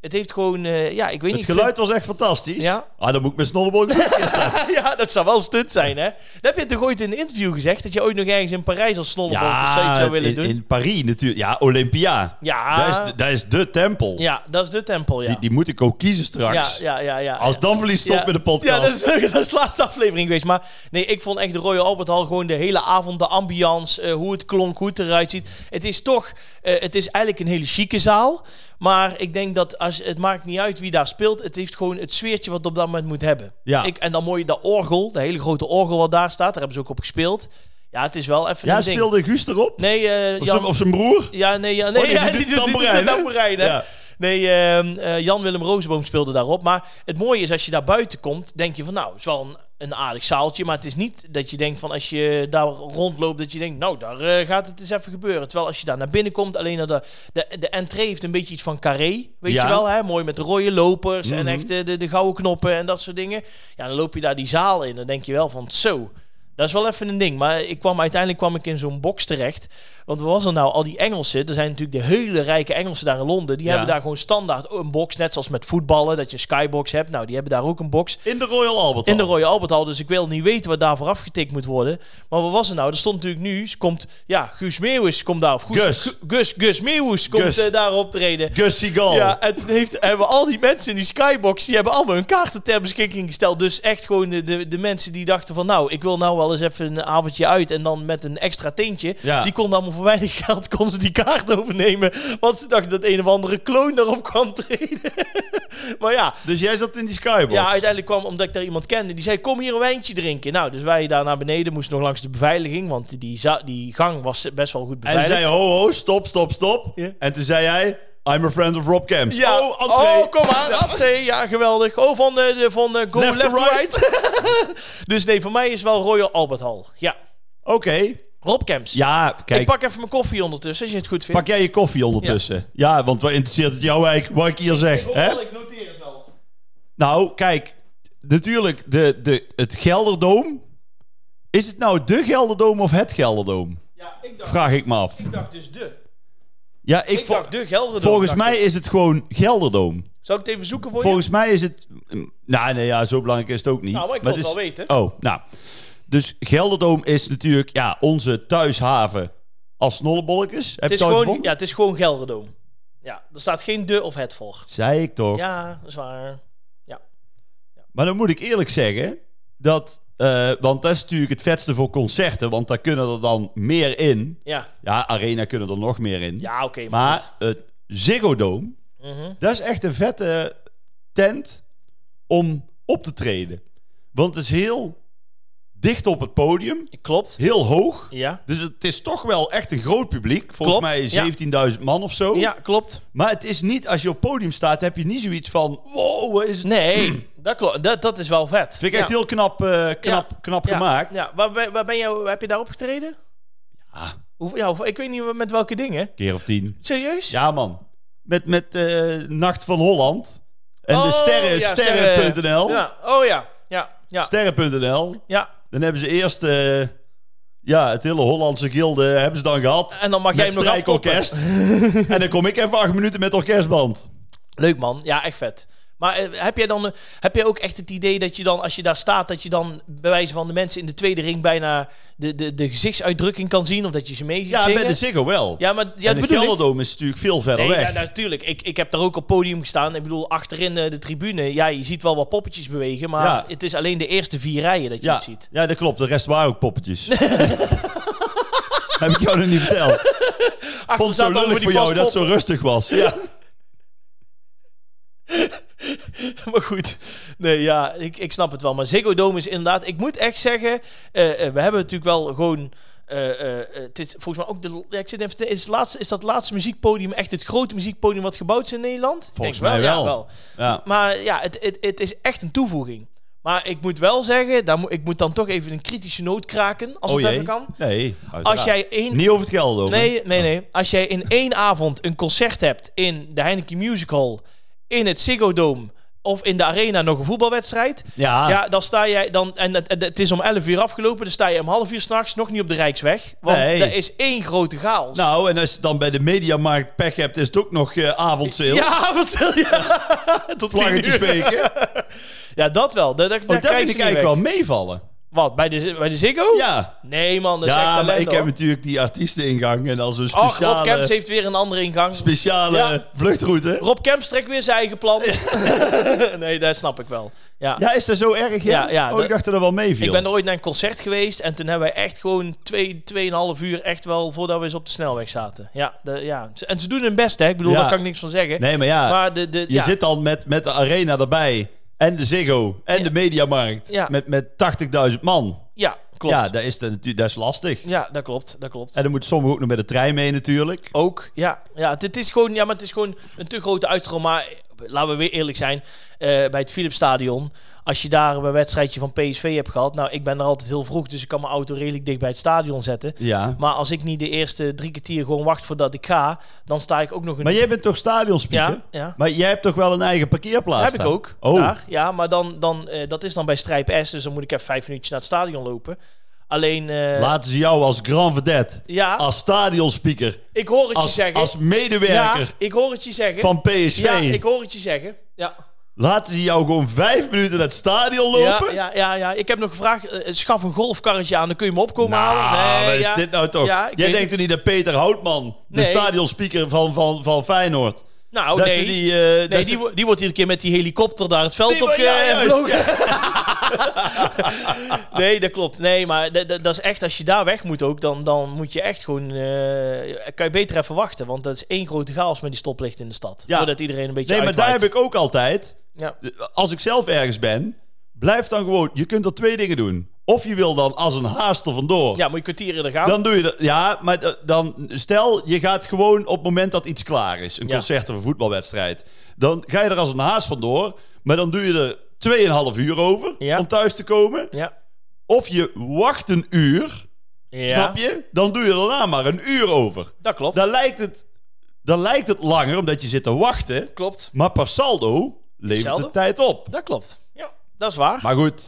Speaker 1: Het heeft gewoon... eh, ja, ik weet
Speaker 2: Het
Speaker 1: niet... ik vind-
Speaker 2: geluid was echt fantastisch.
Speaker 1: Ja.
Speaker 2: Ah, dan moet ik mijn snolleboog
Speaker 1: ja, dat zou wel stunt zijn, hè? Dat heb je toch ooit in een interview gezegd? Dat je ooit nog ergens in Parijs als snolleboog of zoiets zou willen
Speaker 2: in,
Speaker 1: doen?
Speaker 2: in Parijs natuurlijk. Ja, Olympia.
Speaker 1: ja,
Speaker 2: Dat, is, de- dat is de tempel.
Speaker 1: ja, dat is de tempel, ja.
Speaker 2: Die, die moet ik ook kiezen straks.
Speaker 1: Ja, ja, ja, ja.
Speaker 2: Als dan verlies, stop
Speaker 1: Ja.
Speaker 2: met de podcast.
Speaker 1: Ja, dat is, dat is de laatste aflevering geweest. Maar nee, ik vond echt de Royal Albert Hall gewoon de hele avond, de ambiance, eh, hoe het klonk, hoe het eruit ziet. Het is toch, eh, het is eigenlijk een hele chique zaal. Maar ik denk dat als, het maakt niet uit wie daar speelt. Het heeft gewoon het sfeertje wat het op dat moment moet hebben.
Speaker 2: Ja.
Speaker 1: Ik, en dan mooi dat orgel, de hele grote orgel wat daar staat. Daar hebben ze ook op gespeeld. Ja, het is wel even
Speaker 2: Ja,
Speaker 1: een ding.
Speaker 2: speelde Guus erop?
Speaker 1: Nee, eh,
Speaker 2: Of,
Speaker 1: Jan...
Speaker 2: zijn, of zijn broer?
Speaker 1: Ja, nee, ja, nee,
Speaker 2: Oh, die
Speaker 1: ja,
Speaker 2: doet
Speaker 1: die
Speaker 2: de
Speaker 1: doet- die doet de
Speaker 2: tamboerijn, hè?
Speaker 1: tamboerijn, hè?
Speaker 2: Ja.
Speaker 1: Nee, ehm, eh, Jan-Willem Rozenboom speelde daarop. Maar het mooie is, als je daar buiten komt, denk je van... Nou, het is wel een, een aardig zaaltje. Maar het is niet dat je denkt van, als je daar rondloopt... dat je denkt, nou, daar eh, gaat het eens even gebeuren. Terwijl als je daar naar binnen komt, alleen naar de... De, de entree heeft een beetje iets van carré, weet
Speaker 2: Ja.
Speaker 1: je wel, hè? Mooi met de rode lopers
Speaker 2: Mhm.
Speaker 1: en echt eh, de, de, gouden knoppen en dat soort dingen. Ja, dan loop je daar die zaal in. Dan denk je wel van, zo... Dat is wel even een ding. Maar ik kwam, uiteindelijk kwam ik in zo'n box terecht. Want wat was er nou? Al die Engelsen, er zijn natuurlijk de hele rijke Engelsen daar in Londen. Die
Speaker 2: Ja.
Speaker 1: hebben daar gewoon standaard een box. Net zoals met voetballen, dat je een skybox hebt. Nou, die hebben daar ook een box.
Speaker 2: In de Royal Albert
Speaker 1: In de
Speaker 2: Hall.
Speaker 1: Royal Albert Hall. Dus ik wil niet weten wat daarvoor afgetikt moet worden. Maar wat was er nou? Er stond natuurlijk nu, komt, ja, Guus Meeuwis komt daar. Of Guus,
Speaker 2: Gus.
Speaker 1: Gu- Gus, Gus Meeuwis komt
Speaker 2: Gus.
Speaker 1: eh, daar optreden.
Speaker 2: Gus Seagal.
Speaker 1: Ja, en toen heeft, hebben al die mensen in die skybox, die hebben allemaal hun kaarten ter beschikking gesteld. Dus echt gewoon de, de, de mensen die dachten van nou, ik wil nou wel eens even een avondje uit en dan met een extra tintje.
Speaker 2: Ja.
Speaker 1: Die konden allemaal voor weinig geld, konden ze die kaart overnemen. Want ze dachten dat een of andere kloon daarop kwam treden. maar ja,
Speaker 2: Dus jij zat in die skybox.
Speaker 1: ja, uiteindelijk kwam omdat ik daar iemand kende. Die zei: Kom hier een wijntje drinken. Nou, dus wij daar naar beneden moesten nog langs de beveiliging. Want die, za- die gang was best wel goed
Speaker 2: en
Speaker 1: beveiligd.
Speaker 2: zei ho, ho, stop, stop, stop.
Speaker 1: Ja.
Speaker 2: En toen zei hij, I'm a friend of Rob Camps.
Speaker 1: Ja.
Speaker 2: Oh, entree.
Speaker 1: Oh, kom aan. Entree. Ja, geweldig. Oh, van, eh, de, van eh, Go
Speaker 2: Left
Speaker 1: Left,
Speaker 2: to
Speaker 1: to right. dus nee, voor mij is wel Royal Albert Hall. Ja.
Speaker 2: Oké.
Speaker 1: Rob Camps.
Speaker 2: Ja, kijk.
Speaker 1: Ik pak even mijn koffie ondertussen, als je het goed vindt.
Speaker 2: Pak jij je koffie ondertussen. Ja, want wat interesseert het jou eigenlijk wat ik hier zeg? hè?
Speaker 1: Oh, ik noteer het wel.
Speaker 2: Nou, kijk. Natuurlijk, de, de, het Gelderdoom. Is het nou de Gelderdoom of het Gelderdoom?
Speaker 1: Ja, ik dacht,
Speaker 2: Vraag ik me af.
Speaker 1: ik dacht dus de.
Speaker 2: Ja, ik,
Speaker 1: Ik
Speaker 2: vo-
Speaker 1: dacht de Gelderdoom.
Speaker 2: volgens
Speaker 1: dacht
Speaker 2: mij
Speaker 1: ik.
Speaker 2: is het gewoon Gelderdoom.
Speaker 1: Zal ik het even zoeken voor
Speaker 2: Volgens mij is het... Nou, nee, ja, zo belangrijk is het ook niet.
Speaker 1: Nou, maar ik wil
Speaker 2: het
Speaker 1: het
Speaker 2: is-
Speaker 1: wel weten.
Speaker 2: Oh, nou. Dus Gelderdoom is natuurlijk ja, onze thuishaven als snollebolletjes. Heb
Speaker 1: je? Het is,
Speaker 2: je het al
Speaker 1: gewoon,
Speaker 2: gevonden?
Speaker 1: ja, het is gewoon Gelderdoom. Ja, er staat geen de of het voor.
Speaker 2: Zei ik toch.
Speaker 1: Ja, dat is waar.
Speaker 2: Maar dan moet ik eerlijk zeggen dat... eh, want dat is natuurlijk het vetste voor concerten. Want daar kunnen er dan meer in.
Speaker 1: Ja,
Speaker 2: Ja, Arena kunnen er nog meer in.
Speaker 1: ja oké.
Speaker 2: Maar het Ziggo Dome,
Speaker 1: goed. Mhm.
Speaker 2: dat is echt een vette tent om op te treden. Want het is heel dicht op het podium,
Speaker 1: Klopt.
Speaker 2: heel hoog.
Speaker 1: Ja.
Speaker 2: Dus het is toch wel echt een groot publiek. Volgens
Speaker 1: Klopt, ja.
Speaker 2: mij 17.000 man of zo.
Speaker 1: Ja, klopt.
Speaker 2: Maar het is niet, als je op het podium staat, heb je niet zoiets van... Wow, wat is het...
Speaker 1: Nee, dat, klopt. dat, dat is wel vet.
Speaker 2: Vind ik echt
Speaker 1: Ja.
Speaker 2: heel knap, eh, knap, knap
Speaker 1: Ja,
Speaker 2: gemaakt.
Speaker 1: Ja, waar, ben- waar ben je, heb je daar opgetreden?
Speaker 2: Ja.
Speaker 1: Hoe, ja, hoe- ik weet niet met welke dingen.
Speaker 2: Keer of tien.
Speaker 1: Serieus?
Speaker 2: Ja, man. Met, met eh, Nacht van Holland. En de
Speaker 1: Oh,
Speaker 2: sterren,
Speaker 1: ja,
Speaker 2: sterren.nl.
Speaker 1: Ja. Oh ja, ja, ja.
Speaker 2: Sterren.nl.
Speaker 1: ja.
Speaker 2: Dan hebben ze eerst eh, ja, het hele Hollandse gilde hebben ze dan gehad.
Speaker 1: En dan Eh, mag jij
Speaker 2: met
Speaker 1: hem nog
Speaker 2: strijkorkest.
Speaker 1: aftoppen.
Speaker 2: en dan kom ik even acht minuten met orkestband.
Speaker 1: Leuk man, ja, echt vet. Maar eh, heb jij dan eh, heb jij ook echt het idee dat je dan, als je daar staat, dat je dan bij wijze van de mensen in de tweede ring bijna de, de, de gezichtsuitdrukking kan zien? Of dat je ze mee ziet
Speaker 2: Ja,
Speaker 1: zingen?
Speaker 2: met de Ziggo wel.
Speaker 1: ja, maar ja,
Speaker 2: en
Speaker 1: dat
Speaker 2: de
Speaker 1: bedoel ik.
Speaker 2: Gelderdoom is natuurlijk veel verder
Speaker 1: Nee,
Speaker 2: weg.
Speaker 1: ja, nou, natuurlijk. Ik, ik heb daar ook op podium gestaan. Ik bedoel, achterin eh, de tribune. Ja, je ziet wel wat poppetjes bewegen. Maar
Speaker 2: Ja.
Speaker 1: het is alleen de eerste vier rijen dat je
Speaker 2: ja,
Speaker 1: het ziet.
Speaker 2: ja, dat klopt. De rest waren ook poppetjes. Heb ik jou nog niet verteld. Ik vond het zo lullig voor jou dat het zo rustig was. Ja.
Speaker 1: Maar goed, nee, ja, ik, ik snap het wel. Maar Ziggo Dome is inderdaad... Ik moet echt zeggen, eh, eh, we hebben natuurlijk wel gewoon... eh, eh, eh, het is volgens mij ook de. ja, ik zit even te- is, het laatste, is dat laatste muziekpodium echt het grote muziekpodium wat gebouwd is in Nederland? Ik
Speaker 2: Volgens
Speaker 1: denk
Speaker 2: mij wel.
Speaker 1: Ja, wel.
Speaker 2: Ja.
Speaker 1: Maar ja, het, het, het is echt een toevoeging. Maar ik moet wel zeggen, daar moet, ik moet dan toch even een kritische noot kraken, als
Speaker 2: Oh
Speaker 1: het
Speaker 2: jee.
Speaker 1: even kan.
Speaker 2: Nee,
Speaker 1: Als
Speaker 2: uiteraard.
Speaker 1: jij één
Speaker 2: Niet over het geld over.
Speaker 1: Nee, nee, nee. Als jij in één avond een concert hebt in de Heineken Musical, in het Ziggo Dome of in de arena nog een voetbalwedstrijd,
Speaker 2: Ja,
Speaker 1: ja, dan sta jij dan en het, het is om 11 uur afgelopen, dan sta je om half uur s'nachts nog niet op de Rijksweg, want
Speaker 2: Nee.
Speaker 1: er is één grote chaos.
Speaker 2: nou en als je dan bij de mediamarkt pech hebt, is het ook nog eh avondsale.
Speaker 1: ja, wat stil je? Tot
Speaker 2: Vlaggetje
Speaker 1: tien uur.
Speaker 2: speken. Oh,
Speaker 1: Ja, dat wel. Oh, Dat, dat, daar
Speaker 2: dat
Speaker 1: krijg
Speaker 2: vind
Speaker 1: je
Speaker 2: ik
Speaker 1: niet
Speaker 2: eigenlijk
Speaker 1: weg.
Speaker 2: wel meevallen.
Speaker 1: Wat bij de bij de Ziggo?
Speaker 2: Ja,
Speaker 1: Nee man, dat is echt
Speaker 2: ja maar
Speaker 1: talent,
Speaker 2: ik heb
Speaker 1: hoor.
Speaker 2: natuurlijk die artiesteningang en dan zo'n
Speaker 1: Ach, Rob
Speaker 2: speciale,
Speaker 1: Kemps heeft weer een andere ingang.
Speaker 2: speciale
Speaker 1: Ja.
Speaker 2: vluchtroute.
Speaker 1: Rob Kemps trekt weer zijn eigen plan. nee, dat snap ik wel. Ja.
Speaker 2: Ja, is dat zo erg? Ja,
Speaker 1: Ja, ja,
Speaker 2: oh, ik
Speaker 1: dat-
Speaker 2: dacht dat er wel meeviel.
Speaker 1: Ik ben er ooit naar een concert geweest en toen hebben wij echt gewoon twee, tweeënhalf uur echt wel voordat we eens op de snelweg zaten. Ja, de, ja. en ze doen hun best hè, ik bedoel,
Speaker 2: Ja.
Speaker 1: daar kan ik niks van zeggen.
Speaker 2: Nee, maar ja,
Speaker 1: Maar de, de,
Speaker 2: je
Speaker 1: ja.
Speaker 2: zit dan met, met de arena erbij en de Ziggo en de mediamarkt
Speaker 1: Ja.
Speaker 2: met, met 80.000 man.
Speaker 1: ja, klopt.
Speaker 2: Ja,
Speaker 1: Ja,
Speaker 2: dat is, dan natuurlijk- dat is lastig.
Speaker 1: dat klopt, dat klopt.
Speaker 2: En dan moeten sommigen ook nog met de trein mee natuurlijk.
Speaker 1: Ook, ja. ja het, het is gewoon, ja, maar het is gewoon een te grote uitstroom. Maar laten we weer eerlijk zijn, eh, bij het Philips Stadion, als je daar een wedstrijdje van PSV hebt gehad, nou, ik ben er altijd heel vroeg, dus ik kan mijn auto redelijk dicht bij het stadion zetten.
Speaker 2: Ja.
Speaker 1: Maar als ik niet de eerste drie kwartier gewoon wacht voordat ik ga, dan sta ik ook nog een
Speaker 2: Maar jij bent toch stadionspeaker?
Speaker 1: Ja, ja.
Speaker 2: Maar jij hebt toch wel een eigen parkeerplaats?
Speaker 1: heb ik
Speaker 2: daar?
Speaker 1: ook.
Speaker 2: Oh,
Speaker 1: Daar. Ja, maar dan, dan, eh, dat is dan bij Strijp S, dus dan moet ik even vijf minuutjes naar het stadion lopen. Alleen, eh,
Speaker 2: laten ze jou als grand vedette,
Speaker 1: ja,
Speaker 2: als stadionspeaker,
Speaker 1: ik hoor het je
Speaker 2: als,
Speaker 1: zeggen.
Speaker 2: als medewerker
Speaker 1: ja, ik hoor het je zeggen.
Speaker 2: van PSV,
Speaker 1: ja, ik hoor het je zeggen. Ja.
Speaker 2: laten ze jou gewoon vijf minuten naar het stadion
Speaker 1: Ja,
Speaker 2: lopen?
Speaker 1: ja, ja, ja ik heb nog gevraagd, eh, schaf een golfkarretje aan, dan kun je me opkomen
Speaker 2: Nou,
Speaker 1: halen. Nee,
Speaker 2: wat is
Speaker 1: ja.
Speaker 2: dit nou toch?
Speaker 1: Ja, ik
Speaker 2: jij
Speaker 1: weet
Speaker 2: denkt er niet dat Peter Houtman, de
Speaker 1: Nee.
Speaker 2: stadionspeaker van, van, van Feyenoord,
Speaker 1: Nou,
Speaker 2: dat
Speaker 1: nee.
Speaker 2: ze die... eh, dat
Speaker 1: nee,
Speaker 2: ze-
Speaker 1: die, wo- die wordt iedere keer met die helikopter daar het veld
Speaker 2: Die
Speaker 1: op
Speaker 2: wa- ja,
Speaker 1: eh,
Speaker 2: juist.
Speaker 1: Nee, dat klopt. Nee, maar dat, dat, dat is echt, als je daar weg moet ook, dan, dan moet je echt gewoon, eh, kan je beter even wachten. Want dat is één grote chaos met die stoplichten in de stad.
Speaker 2: Ja.
Speaker 1: Voordat iedereen een beetje
Speaker 2: Nee, maar daar
Speaker 1: uitwaait.
Speaker 2: heb ik ook altijd.
Speaker 1: Ja.
Speaker 2: Als ik zelf ergens ben, blijf dan gewoon. Je kunt er twee dingen doen. Of je wil dan als een haast er vandoor.
Speaker 1: ja, moet je kwartier eerder gaan.
Speaker 2: Dan doe je dat. Ja, maar d- dan stel je gaat gewoon op het moment dat iets klaar is, een
Speaker 1: Ja.
Speaker 2: concert of een voetbalwedstrijd, dan ga je er als een haast vandoor. Maar dan doe je er 2,5 uur over
Speaker 1: Ja.
Speaker 2: om thuis te komen.
Speaker 1: Ja.
Speaker 2: Of je wacht een uur,
Speaker 1: ja.
Speaker 2: snap je? Dan doe je er daarna maar een uur over.
Speaker 1: Dat klopt.
Speaker 2: Dan lijkt het, dan lijkt het langer omdat je zit te wachten.
Speaker 1: klopt.
Speaker 2: Maar per saldo levert
Speaker 1: Zelden.
Speaker 2: de tijd op.
Speaker 1: Dat klopt. Ja, dat is waar.
Speaker 2: Maar goed,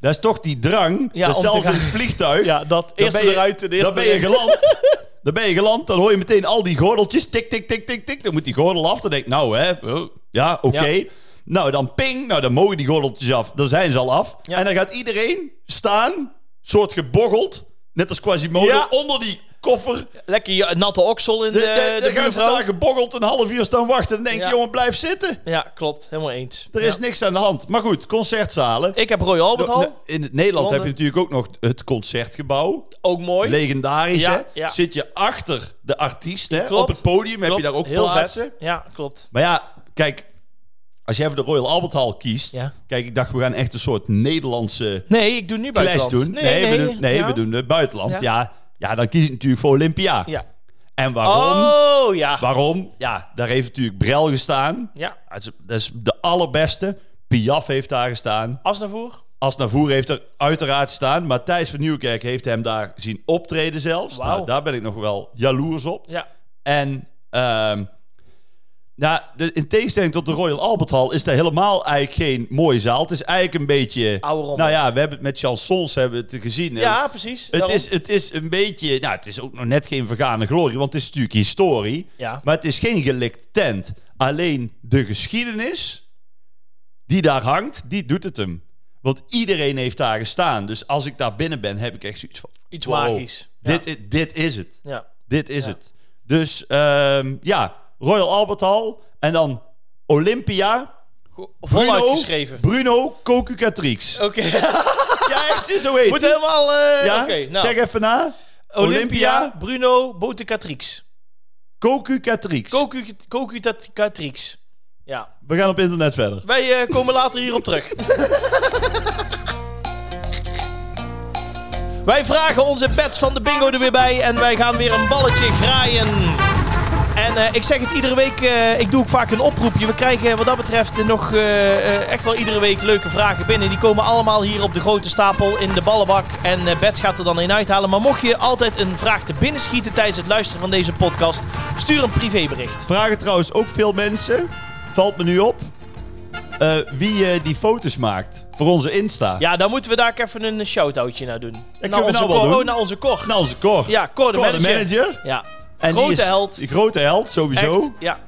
Speaker 2: dat is toch die drang.
Speaker 1: Ja,
Speaker 2: dat
Speaker 1: om te
Speaker 2: zelfs in
Speaker 1: gaan.
Speaker 2: het vliegtuig.
Speaker 1: Ja, dat
Speaker 2: dan
Speaker 1: eerste
Speaker 2: ben je-
Speaker 1: eruit en de eerste
Speaker 2: Dan ben je
Speaker 1: erin.
Speaker 2: geland. dan ben je geland, dan hoor je meteen al die gordeltjes. Tik, tik, tik, tik, tik. Dan moet die gordel af. Dan denk ik, nou hè, oh, ja, oké.
Speaker 1: Ja.
Speaker 2: Nou, dan ping. Nou, dan mogen die gordeltjes af. Dan zijn ze al af.
Speaker 1: Ja.
Speaker 2: En dan gaat iedereen staan, soort geboggeld. Net als Quasimodo,
Speaker 1: Ja.
Speaker 2: onder die koffer.
Speaker 1: Lekker je natte oksel in de,
Speaker 2: De, de,
Speaker 1: de,
Speaker 2: dan gaan ze
Speaker 1: buurvrouw.
Speaker 2: daar geboggeld een half uur staan wachten. Dan denk ik,
Speaker 1: Ja.
Speaker 2: jongen, blijf zitten.
Speaker 1: Ja, klopt. Helemaal eens.
Speaker 2: Er
Speaker 1: Ja.
Speaker 2: is niks aan de hand. Maar goed, concertzalen.
Speaker 1: Ik heb Royal Albert Hall.
Speaker 2: In het Nederland
Speaker 1: Londen.
Speaker 2: heb je natuurlijk ook nog het concertgebouw.
Speaker 1: Ook mooi.
Speaker 2: Legendarisch,
Speaker 1: Ja,
Speaker 2: hè?
Speaker 1: ja.
Speaker 2: Zit je achter de artiest, hè?
Speaker 1: Klopt.
Speaker 2: Op het podium heb je
Speaker 1: Klopt.
Speaker 2: daar ook
Speaker 1: Heel
Speaker 2: plaatsen.
Speaker 1: vet. Ja, klopt.
Speaker 2: Maar ja, kijk... Als jij voor de Royal Albert Hall kiest...
Speaker 1: Ja.
Speaker 2: Kijk, ik dacht, we gaan echt een soort Nederlandse
Speaker 1: Nee, ik doe nu
Speaker 2: clash
Speaker 1: buitenland.
Speaker 2: doen. we doen, nee
Speaker 1: ja.
Speaker 2: we doen het buitenland. Ja.
Speaker 1: Ja.
Speaker 2: Ja. dan kies je natuurlijk voor Olympia.
Speaker 1: Ja.
Speaker 2: En waarom?
Speaker 1: Oh, ja.
Speaker 2: Waarom? Ja, daar heeft natuurlijk Brel gestaan.
Speaker 1: Ja.
Speaker 2: Dat is- Dat is de allerbeste. Piaf heeft daar gestaan.
Speaker 1: Asnavoer.
Speaker 2: Asnavoer heeft er uiteraard staan. Maar Thijs van Nieuwkerk heeft hem daar zien optreden zelfs.
Speaker 1: Wauw.
Speaker 2: Nou, daar ben ik nog wel jaloers op.
Speaker 1: Ja.
Speaker 2: En ehm, nou, de, in tegenstelling tot de Royal Albert Hall is dat helemaal eigenlijk geen mooie zaal. Het is eigenlijk een beetje...
Speaker 1: Oude rommel.
Speaker 2: Nou ja, we hebben het met chansons hebben we het gezien.
Speaker 1: Ja, precies.
Speaker 2: Het
Speaker 1: Daarom.
Speaker 2: is, het is een beetje... Nou, het is ook nog net geen vergane glorie, want het is natuurlijk historie.
Speaker 1: Ja.
Speaker 2: Maar het is geen gelikt tent. Alleen de geschiedenis die daar hangt, die doet het hem. Want iedereen heeft daar gestaan. Dus als ik daar binnen ben, heb ik echt zoiets van...
Speaker 1: Iets
Speaker 2: wow,
Speaker 1: magisch. Ja.
Speaker 2: Dit, i- dit is het.
Speaker 1: Ja.
Speaker 2: Dit is
Speaker 1: Ja.
Speaker 2: het. Dus ehm, ja, Royal Albert Hall en dan Olympia.
Speaker 1: Go-
Speaker 2: Bruno,
Speaker 1: Voluit geschreven.
Speaker 2: Bruno Cocucatrix.
Speaker 1: Oké.
Speaker 2: Ja, echt, ze is zo heet.
Speaker 1: Moet
Speaker 2: hij.
Speaker 1: helemaal... eh,
Speaker 2: ja?
Speaker 1: Oké, nou.
Speaker 2: Zeg even na.
Speaker 1: Olympia,
Speaker 2: Olympia.
Speaker 1: Bruno, Botecatrix.
Speaker 2: Cocucatrix.
Speaker 1: Cocu-catrix. Ja.
Speaker 2: We gaan op internet verder.
Speaker 1: Wij eh, komen later hierop terug. wij vragen onze bets van de bingo er weer bij en wij gaan weer een balletje graaien. En eh, ik zeg het iedere week, eh, ik doe ook vaak een oproepje. We krijgen wat dat betreft eh, nog eh, eh, echt wel iedere week leuke vragen binnen. Die komen allemaal hier op de grote stapel in de ballenbak. En eh, Bets gaat er dan een uithalen. Maar mocht je altijd een vraag te binnen schieten tijdens het luisteren van deze podcast, stuur een privébericht.
Speaker 2: Vragen trouwens ook veel mensen. Valt me nu op. eh, wie eh, die foto's maakt voor onze Insta.
Speaker 1: Ja, dan moeten we daar ook even een shout-outje naar doen.
Speaker 2: kunnen
Speaker 1: naar
Speaker 2: we
Speaker 1: onze
Speaker 2: nou wel
Speaker 1: Cor.
Speaker 2: doen.
Speaker 1: Oh, naar onze Cor.
Speaker 2: Nou, onze Cor.
Speaker 1: Ja, Cor de
Speaker 2: Cor, de
Speaker 1: manager.
Speaker 2: manager.
Speaker 1: Ja,
Speaker 2: En die
Speaker 1: grote
Speaker 2: is-
Speaker 1: held.
Speaker 2: Die grote held,
Speaker 1: Echt,
Speaker 2: sowieso.
Speaker 1: Ja.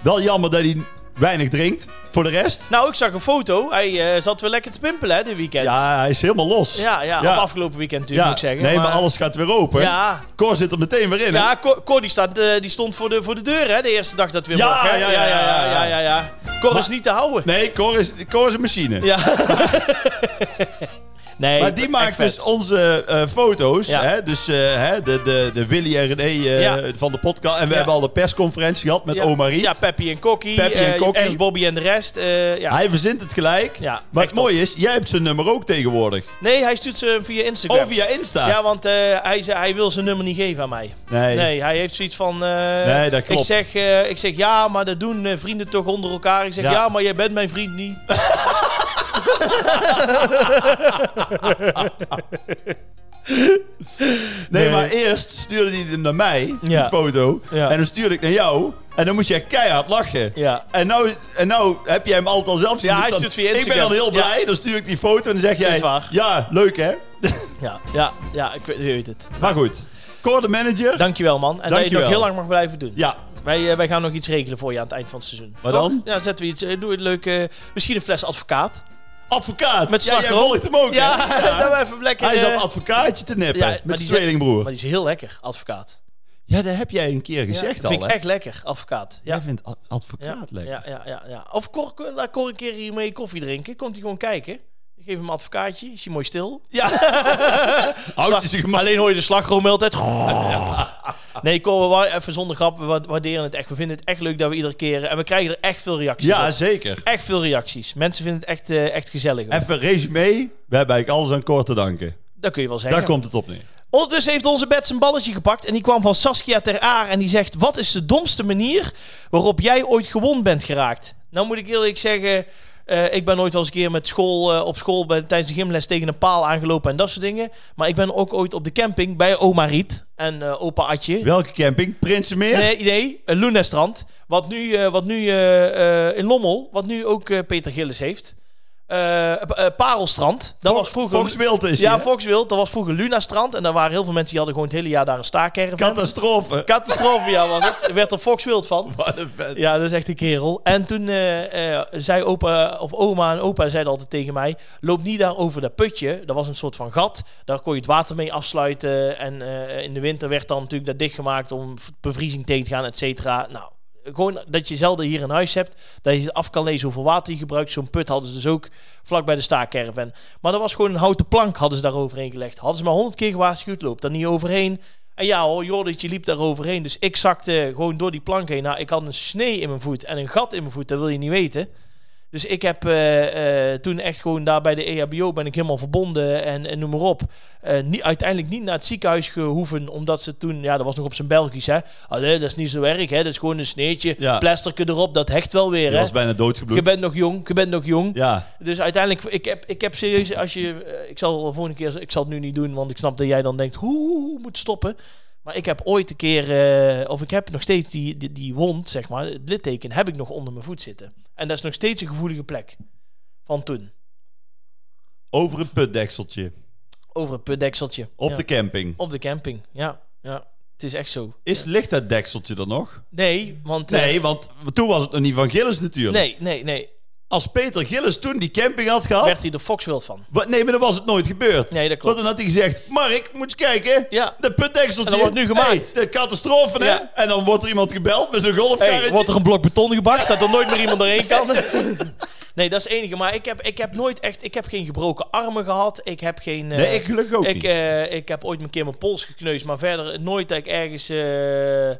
Speaker 2: Wel jammer dat hij weinig drinkt. Voor de rest.
Speaker 1: Nou, ik zag een foto. Hij eh, zat weer lekker te pimpelen, hè, dit weekend.
Speaker 2: Ja, hij is helemaal los.
Speaker 1: ja, ja,
Speaker 2: Ja.
Speaker 1: Of afgelopen weekend
Speaker 2: Ja,
Speaker 1: natuurlijk, moet ik zeggen.
Speaker 2: nee, maar... alles gaat weer open.
Speaker 1: Ja,
Speaker 2: Cor zit er meteen weer in. hè?
Speaker 1: ja Cor, Cor die, staat, eh, die stond voor de, voor de deur, hè, de eerste dag dat we weer
Speaker 2: Ja,
Speaker 1: mocht, hè?
Speaker 2: ja, ja,
Speaker 1: ja, ja,
Speaker 2: ja,
Speaker 1: ja, ja, ja. Cor is
Speaker 2: Maar-
Speaker 1: niet te houden.
Speaker 2: Nee, Cor is, Cor is een machine.
Speaker 1: Ja. nee,
Speaker 2: Maar die
Speaker 1: echt
Speaker 2: maakt
Speaker 1: vet.
Speaker 2: dus onze eh, foto's.
Speaker 1: Ja.
Speaker 2: Hè? Dus eh, hè, de, de, de Willy en René eh,
Speaker 1: Ja.
Speaker 2: van de podcast. En we
Speaker 1: Ja.
Speaker 2: hebben al de persconferentie gehad met
Speaker 1: ja.
Speaker 2: Omar Riet.
Speaker 1: Ja, Peppy en Kokkie.
Speaker 2: Peppy en
Speaker 1: eh,
Speaker 2: Kokkie.
Speaker 1: Ernst, Bobby en de rest. eh, ja.
Speaker 2: Hij verzint het gelijk.
Speaker 1: Ja,
Speaker 2: maar
Speaker 1: echt
Speaker 2: het mooie is, jij hebt zijn nummer ook tegenwoordig.
Speaker 1: Nee, hij stuurt ze via Instagram.
Speaker 2: Oh, via Insta.
Speaker 1: Ja, want eh, hij, ze- hij wil zijn nummer niet geven aan mij.
Speaker 2: Nee.
Speaker 1: Nee, hij heeft zoiets van... eh,
Speaker 2: Nee, dat klopt.
Speaker 1: Ik zeg, eh, ik zeg ja, maar dat doen eh, vrienden toch onder elkaar. Ik zeg
Speaker 2: Ja.
Speaker 1: ja, maar jij bent mijn vriend niet.
Speaker 2: Nee,
Speaker 1: Nee.
Speaker 2: maar eerst stuurde hij hem naar mij, die
Speaker 1: Ja.
Speaker 2: foto.
Speaker 1: Ja.
Speaker 2: En dan stuurde ik naar jou. En dan moest jij keihard lachen.
Speaker 1: Ja.
Speaker 2: En nou, en nou heb jij hem altijd al zelf zien. Dus
Speaker 1: Ja, hij
Speaker 2: dan-
Speaker 1: stuurt via
Speaker 2: Ik ben
Speaker 1: Instagram.
Speaker 2: dan heel blij. Dan stuur ik die foto en dan zeg jij...
Speaker 1: Is waar.
Speaker 2: Ja, leuk hè?
Speaker 1: Ja, ja, ja ik weet, je weet het.
Speaker 2: Maar goed. Cor de manager.
Speaker 1: Dankjewel man. En dat je het
Speaker 2: Dankjewel.
Speaker 1: nog heel lang mag blijven doen.
Speaker 2: ja,
Speaker 1: Wij, eh, wij gaan nog iets regelen voor je aan het eind van het seizoen.
Speaker 2: Wat
Speaker 1: Toch?
Speaker 2: dan?
Speaker 1: Ja, dan zetten we iets. eh, Doe een leuke. Misschien een fles advocaat.
Speaker 2: advocaat.
Speaker 1: Met
Speaker 2: ja, jij
Speaker 1: slagroom.
Speaker 2: volgt hem ook hè?
Speaker 1: Ja, dat we even lekker.
Speaker 2: Hij zat
Speaker 1: eh,
Speaker 2: advocaatje te nippen
Speaker 1: ja, maar
Speaker 2: met
Speaker 1: die
Speaker 2: zijn
Speaker 1: zet-
Speaker 2: tweelingbroer.
Speaker 1: Maar die is heel lekker, advocaat.
Speaker 2: Ja, dat heb jij een keer
Speaker 1: Ja,
Speaker 2: gezegd
Speaker 1: dat
Speaker 2: al,
Speaker 1: vind
Speaker 2: hè?
Speaker 1: ik echt lekker, advocaat. Ja.
Speaker 2: Jij vindt ad-
Speaker 1: Ja,
Speaker 2: advocaat lekker.
Speaker 1: Ja, ja, ja, ja. Of Cor, Cor- laat Cor een keer hiermee koffie drinken. Komt hij gewoon kijken. Ik geef hem een advocaatje. Is hij mooi stil.
Speaker 2: Ja. Houdt hij
Speaker 1: Slag-
Speaker 2: zich maar...
Speaker 1: Alleen hoor je de slagroom altijd. Nee, Cor, we wa- even zonder grap. We wa- waarderen het echt. We vinden het echt leuk dat we iedere keer... eh, En we krijgen er echt veel reacties
Speaker 2: Ja,
Speaker 1: op.
Speaker 2: zeker.
Speaker 1: Echt veel reacties. Mensen vinden het echt, eh, echt gezellig. hoor.
Speaker 2: Even een resume. We hebben eigenlijk alles aan Cor te danken.
Speaker 1: Dat kun je wel zeggen.
Speaker 2: Daar komt het op neer.
Speaker 1: Ondertussen heeft onze Bets een balletje gepakt. En die kwam van Saskia Ter Aar. En die zegt: Wat is de domste manier waarop jij ooit gewond bent geraakt? Nou moet ik eerlijk zeggen. eh, ik ben ooit wel eens een keer met school, eh, op school bij, tijdens de gymles tegen een paal aangelopen en dat soort dingen. Maar ik ben ook ooit op de camping bij oma Riet en eh, opa Atje.
Speaker 2: Welke camping? Prinsenmeer?
Speaker 1: Nee, nee eh, Lunestrand. Wat nu, eh, wat nu eh, eh, in Lommel, wat nu ook eh, Peter Gillis heeft. Eh, eh, Parelstrand. Dat
Speaker 2: Fo-
Speaker 1: was vroeger.
Speaker 2: Fox Wild is
Speaker 1: Ja,
Speaker 2: ja,
Speaker 1: Volkswild. Dat was vroeger Lunastrand. En daar waren heel veel mensen die hadden gewoon het hele jaar daar een staakerven.
Speaker 2: Catastrofe.
Speaker 1: Catastrofe, ja, want het werd er Volkswild van.
Speaker 2: Wat een vet.
Speaker 1: Ja, dat is echt een kerel. En toen eh, eh, zei opa, of oma en opa zeiden altijd tegen mij... loop niet daar over dat putje. Dat was een soort van gat. Daar kon je het water mee afsluiten. En eh, in de winter werd dan natuurlijk dat dichtgemaakt... om v- bevriezing tegen te gaan, et cetera. Nou, gewoon dat je zelden hier in huis hebt... dat je af kan lezen hoeveel water je gebruikt. Zo'n put hadden ze dus ook vlak bij de staakerven. Maar dat was gewoon een houten plank hadden ze daar overheen gelegd. Hadden ze maar honderd keer gewaarschuwd, loop daar niet overheen. En ja hoor, Jordetje liep daar overheen. Dus ik zakte gewoon door die plank heen. Nou, ik had een snee in mijn voet en een gat in mijn voet, dat wil je niet weten. Dus ik heb eh, eh, toen echt gewoon daar bij de E EHBO ben ik helemaal verbonden en, en noem maar op. Eh, niet, uiteindelijk niet naar het ziekenhuis gehoeven, omdat ze toen, ja dat was nog op zijn Belgisch hè. Allee, dat is niet zo erg hè, dat is gewoon een sneetje,
Speaker 2: Ja.
Speaker 1: plasterke erop, dat hecht wel weer
Speaker 2: Je
Speaker 1: hè.
Speaker 2: was bijna
Speaker 1: Je
Speaker 2: doodgebloed.
Speaker 1: bent nog jong, je bent nog jong.
Speaker 2: Ja.
Speaker 1: Dus uiteindelijk, ik heb, ik heb serieus, als je, eh, ik zal de volgende keer, ik zal het nu niet doen, want ik snap dat jij dan denkt, hoe, hoe, hoe, moet stoppen. Maar ik heb ooit een keer, eh, of ik heb nog steeds die, die, die wond, zeg maar, het litteken, heb ik nog onder mijn voet zitten. En dat is nog steeds een gevoelige plek van toen,
Speaker 2: Over een putdekseltje.
Speaker 1: over het putdekseltje.
Speaker 2: Op
Speaker 1: Ja.
Speaker 2: de camping.
Speaker 1: Op de camping, ja, ja. Het is echt zo.
Speaker 2: Is, ligt dat dekseltje er nog?
Speaker 1: Nee, want... eh,
Speaker 2: Nee, want toen was het nog niet van Gillis natuurlijk.
Speaker 1: Nee, nee, nee.
Speaker 2: Als Peter Gillis toen die camping had gehad...
Speaker 1: Werd hij de Foxwild van.
Speaker 2: Wat, nee, maar dan was het nooit gebeurd.
Speaker 1: Nee, dat klopt.
Speaker 2: Want dan had hij gezegd... Mark, moet je kijken.
Speaker 1: Ja.
Speaker 2: De putdekseltje.
Speaker 1: En dat wordt nu gemaakt.
Speaker 2: Hey, de catastrofe, hè.
Speaker 1: Ja.
Speaker 2: En dan wordt er iemand gebeld met zo'n golfkarretje.
Speaker 1: Hey, wordt er een blok beton gebakt dat er nooit meer iemand doorheen kan? Nee, dat is het enige. Maar ik heb, ik heb nooit echt... Ik heb geen gebroken armen gehad. Ik heb geen... eh,
Speaker 2: Nee, ik gelukkig ook
Speaker 1: ik,
Speaker 2: niet.
Speaker 1: eh, ik heb ooit een keer mijn pols gekneusd. Maar verder nooit dat ik ergens... eh,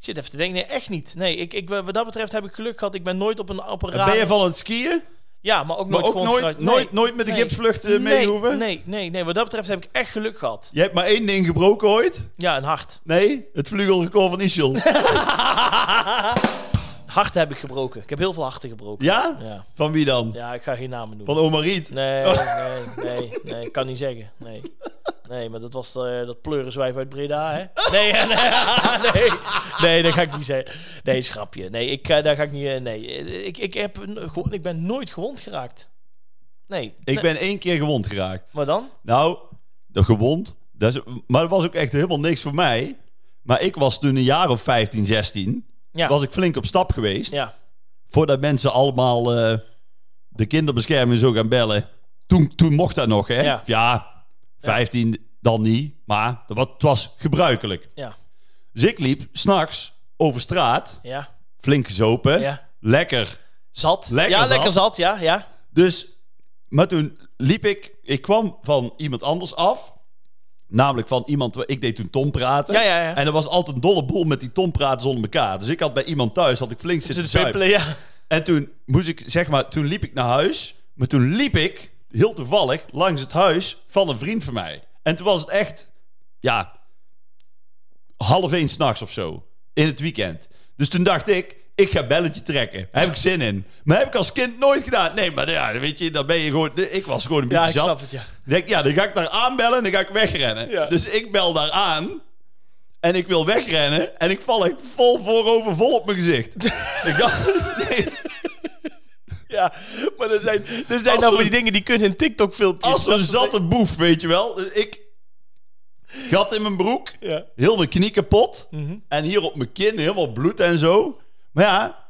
Speaker 1: ik zit even te denken. Nee, echt niet. Nee, ik, ik, wat dat betreft heb ik geluk gehad. Ik ben nooit op een
Speaker 2: En ben je
Speaker 1: apparaat...
Speaker 2: van het skiën?
Speaker 1: Ja, maar ook
Speaker 2: Maar
Speaker 1: nooit
Speaker 2: ook
Speaker 1: gewoon
Speaker 2: nooit,
Speaker 1: eruit-
Speaker 2: nooit, nooit met de
Speaker 1: Nee.
Speaker 2: gipsvlucht eh, mee
Speaker 1: nee,
Speaker 2: hoeven?
Speaker 1: Nee, nee, nee. Wat dat betreft heb ik echt geluk gehad.
Speaker 2: Je hebt maar één ding gebroken ooit.
Speaker 1: Ja, een hart.
Speaker 2: Nee, het vleugelrecord van Ischel.
Speaker 1: Harten heb ik gebroken. Ik heb heel veel harten gebroken.
Speaker 2: ja?
Speaker 1: Ja,
Speaker 2: Van wie dan?
Speaker 1: Ja, ik ga geen namen noemen.
Speaker 2: Van Omar Riet?
Speaker 1: Nee, nee, nee, nee, ik kan niet zeggen. Nee, nee maar dat was eh, dat pleurenzwijf uit Breda, hè? Nee, nee, nee, nee, dat ga ik niet zeggen. Nee, is een grapje. Nee, ik, eh, daar ga ik niet... eh, nee, ik, ik, heb, een- gewoon- ik ben nooit gewond geraakt. Nee.
Speaker 2: Ik ben één keer gewond geraakt.
Speaker 1: Maar dan?
Speaker 2: Nou, dat gewond. Dat is, maar dat was ook echt helemaal niks voor mij. Maar ik was toen een jaar of 15, 16.
Speaker 1: Ja.
Speaker 2: Was ik flink op stap geweest.
Speaker 1: Ja.
Speaker 2: Voordat mensen allemaal eh, de kinderbescherming zo gaan bellen. Toen, toen mocht dat nog, hè?
Speaker 1: Ja.
Speaker 2: 15 dan niet. Maar dat was, het was gebruikelijk.
Speaker 1: Ja.
Speaker 2: Dus ik liep s'nachts over straat.
Speaker 1: Ja.
Speaker 2: Flink gezopen.
Speaker 1: Ja.
Speaker 2: Lekker.
Speaker 1: Zat.
Speaker 2: Lekker
Speaker 1: ja,
Speaker 2: zat.
Speaker 1: lekker zat. Ja, ja.
Speaker 2: Dus, maar toen liep ik, ik kwam van iemand anders af. Namelijk van iemand, wa- ik deed toen Tom praten.
Speaker 1: Ja, ja, ja.
Speaker 2: En er was altijd een dolle boel met die Tom praten zonder elkaar. Dus ik had bij iemand thuis, had ik flink zitten
Speaker 1: Zitten
Speaker 2: zuipen.
Speaker 1: pimpelen, ja.
Speaker 2: En toen moest ik, zeg maar, toen liep ik naar huis. Maar toen liep ik, heel toevallig, langs het huis van een vriend van mij. En toen was het echt, ja, half één s'nachts of zo. In het weekend. Dus toen dacht ik, ik ga belletje trekken. Daar heb ik zin in. Maar heb ik als kind nooit gedaan. Nee, maar ja, weet je, dan ben je gewoon... Ik was gewoon een beetje
Speaker 1: Ja, ik
Speaker 2: zat.
Speaker 1: snap het, ja.
Speaker 2: Ik Denk, ja, dan ga ik daar aanbellen en dan ga ik wegrennen.
Speaker 1: Ja.
Speaker 2: Dus ik bel daar aan en ik wil wegrennen en ik val echt vol voorover, vol op mijn gezicht. ik dacht, nee,
Speaker 1: Ja, maar er zijn, er zijn
Speaker 2: Als
Speaker 1: nou
Speaker 2: we-
Speaker 1: van die dingen die kunnen in TikTok-filmpjes.
Speaker 2: als een
Speaker 1: Dat is-
Speaker 2: zatte boef, weet je wel. Dus ik gat in mijn broek,
Speaker 1: Ja. Mhm.
Speaker 2: heel mijn knie kapot en hier op mijn kin helemaal bloed en zo. Maar ja,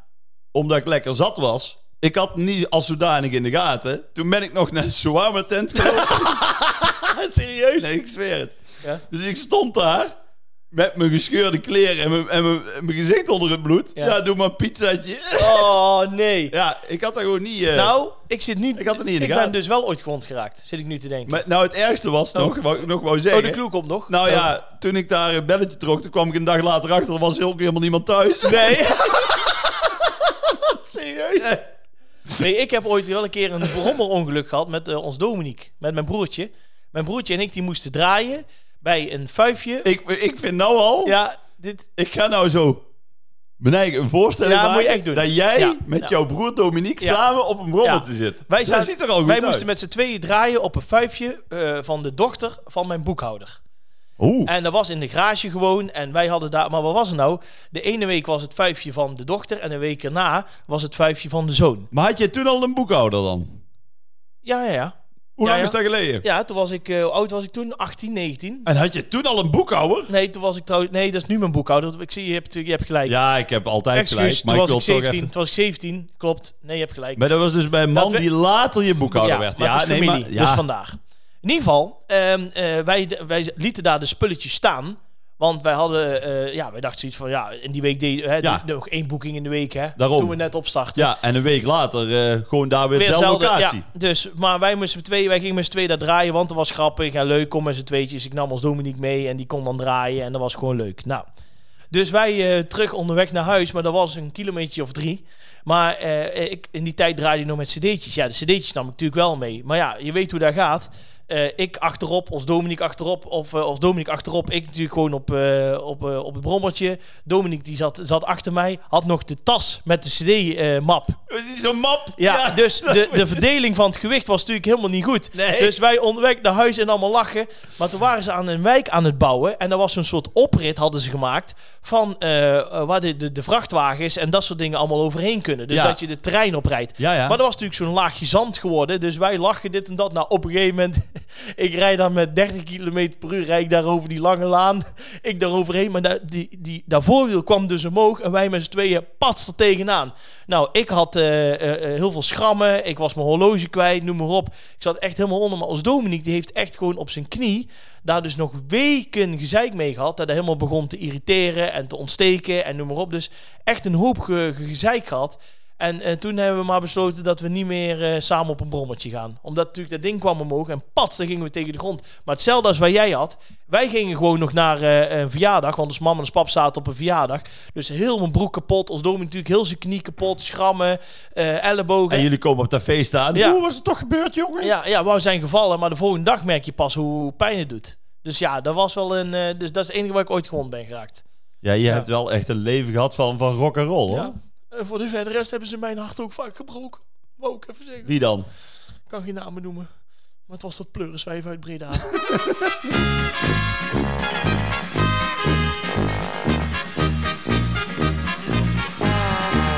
Speaker 2: omdat ik lekker zat was, ik had niet als zodanig in de gaten. Toen ben ik nog naar de shawarma tent gelopen.
Speaker 1: Serieus?
Speaker 2: Nee, ik zweer het.
Speaker 1: Ja.
Speaker 2: Dus ik stond daar met mijn gescheurde kleren en mijn, en mijn, en mijn gezicht onder het bloed. Ja,
Speaker 1: Ja.
Speaker 2: doe maar een pizzaatje.
Speaker 1: Oh, nee.
Speaker 2: Ja, ik had daar gewoon niet... eh,
Speaker 1: Nou, ik zit nu...
Speaker 2: Ik had het niet in de
Speaker 1: ik
Speaker 2: gaten.
Speaker 1: ben dus wel ooit gewond geraakt, zit ik nu te denken.
Speaker 2: maar, nou, het ergste was nog, wat ik nog wou zeggen...
Speaker 1: oh, de clue komt nog.
Speaker 2: nou
Speaker 1: Oh.
Speaker 2: ja, toen ik daar een belletje trok, toen kwam ik een dag later achter, er was ook helemaal niemand thuis.
Speaker 1: Nee.
Speaker 2: serieus?
Speaker 1: nee, ik heb ooit wel een keer een brommerongeluk gehad met eh, ons Dominique. Met mijn broertje. Mijn broertje en ik die moesten draaien bij een fuifje.
Speaker 2: Ik, ik vind nou al,
Speaker 1: Ja, dit...
Speaker 2: ik ga nou zo mijn eigen een voorstelling
Speaker 1: Ja,
Speaker 2: maken
Speaker 1: moet je echt doen.
Speaker 2: dat jij
Speaker 1: Ja,
Speaker 2: met
Speaker 1: ja.
Speaker 2: jouw broer Dominique
Speaker 1: Ja.
Speaker 2: samen op een rommeltje
Speaker 1: Ja.
Speaker 2: zit.
Speaker 1: Wij,
Speaker 2: dat
Speaker 1: zaten-
Speaker 2: ziet er al goed
Speaker 1: wij
Speaker 2: uit.
Speaker 1: moesten met z'n tweeën draaien op een fuifje eh, van de dochter van mijn boekhouder.
Speaker 2: Oeh,
Speaker 1: En dat was in de garage gewoon. En wij hadden daar. Maar wat was er nou? De ene week was het vijfje van de dochter. En de week erna was het vijfje van de zoon.
Speaker 2: maar had je toen al een boekhouder dan?
Speaker 1: Ja, ja, ja.
Speaker 2: Hoe
Speaker 1: Ja,
Speaker 2: lang
Speaker 1: ja.
Speaker 2: is dat geleden?
Speaker 1: Ja, toen was ik. eh, hoe oud was ik toen? 18, 19.
Speaker 2: En had je toen al een boekhouder?
Speaker 1: Nee, toen was ik trouwens. Nee, dat is nu mijn boekhouder. Ik zie, je hebt, je hebt gelijk.
Speaker 2: Ja, ik heb altijd
Speaker 1: Excuus,
Speaker 2: gelijk, maar
Speaker 1: toen
Speaker 2: ik
Speaker 1: was
Speaker 2: wil
Speaker 1: ik
Speaker 2: toch
Speaker 1: 17.
Speaker 2: even...
Speaker 1: Toen was ik 17. Klopt. Nee, je hebt gelijk.
Speaker 2: Maar dat was dus bij een man
Speaker 1: Dat we-
Speaker 2: die later je boekhouder werd.
Speaker 1: maar het is
Speaker 2: nee,
Speaker 1: familie,
Speaker 2: maar- ja.
Speaker 1: dus vandaag. In ieder geval, ehm, eh, wij, wij lieten daar de spulletjes staan. Want wij hadden, eh, ja, wij dachten zoiets van, ja, in die week deed hè,
Speaker 2: Ja.
Speaker 1: die- nog één boeking in de week, hè.
Speaker 2: Daarom.
Speaker 1: Toen we net opstarten.
Speaker 2: ja, en een week later eh, gewoon daar weer
Speaker 1: Weer
Speaker 2: dezelfde
Speaker 1: hetzelfde,
Speaker 2: locatie.
Speaker 1: ja. Dus, maar wij, moesten met z'n tweeën, wij gingen met z'n tweeën daar draaien, want het was grappig en leuk. Kom met z'n tweetjes. Dus Ik nam ons Dominique mee en die kon dan draaien en dat was gewoon leuk. Nou, dus wij eh, terug onderweg naar huis, maar dat was een kilometer of drie. Maar eh, ik, in die tijd draaide ik nog met cd'tjes. Ja, de cd'tjes nam ik natuurlijk wel mee. Maar ja, je weet hoe dat gaat. Eh, ik achterop, ons Dominique achterop, of, eh, of Dominique achterop. Ik natuurlijk gewoon op, eh, op, eh, op het brommertje. Dominique die zat, zat achter mij, had nog de tas met de eh, cd-map
Speaker 2: Het is Zo'n map.
Speaker 1: ja, dus de, de verdeling van het gewicht was natuurlijk helemaal niet goed.
Speaker 2: Nee.
Speaker 1: Dus wij onderweg naar huis en allemaal lachen. Maar toen waren ze aan een wijk aan het bouwen. En daar was zo'n soort oprit hadden ze gemaakt. Van eh, eh, waar de, de, de vrachtwagens en dat soort dingen allemaal overheen kunnen. Dus
Speaker 2: Ja.
Speaker 1: dat je de trein oprijdt.
Speaker 2: Ja, ja.
Speaker 1: Maar dat was natuurlijk zo'n laagje zand geworden. Dus wij lachen dit en dat. Nou, op een gegeven moment... ik rijd daar met 30 km per uur... rijd ik daar over die lange laan. Ik daar overheen. Maar da- die, die, dat voorwiel kwam dus omhoog. En wij met z'n tweeën pats er tegenaan. Nou, ik had eh, eh, eh, heel veel schrammen. Ik was mijn horloge kwijt, noem maar op. Ik zat echt helemaal onder. Maar als Dominique, die heeft echt gewoon op zijn knie... daar dus nog weken gezeik mee gehad. Dat hij helemaal begon te irriteren en te ontsteken en noem maar op. Dus echt een hoop ge- ge- gezeik gehad. En eh, toen hebben we maar besloten dat we niet meer eh, samen op een brommertje gaan. Omdat natuurlijk dat ding kwam omhoog en pats, dan gingen we tegen de grond. Maar hetzelfde als wat jij had. Wij gingen gewoon nog naar eh, een verjaardag, want ons mam en ons pap zaten op een verjaardag. Dus heel mijn broek kapot, ons dominee natuurlijk heel zijn knie kapot, schrammen, eh, ellebogen.
Speaker 2: En jullie komen op dat feest aan.
Speaker 1: Ja.
Speaker 2: Hoe was het toch gebeurd, jongen?
Speaker 1: Ja, ja, we zijn gevallen, maar de volgende dag merk je pas hoe, hoe pijn het doet. Dus ja, dat was wel een. eh, dus dat is het enige waar ik ooit gewond ben geraakt.
Speaker 2: Ja, je hebt wel echt een leven gehad van, van rock and roll, hoor.
Speaker 1: Ja. En voor de verder rest hebben ze mijn hart ook vaak gebroken. Wou ik even zeggen.
Speaker 2: Wie dan?
Speaker 1: Ik kan geen namen noemen. Maar het was dat pleuriswijf uit Breda.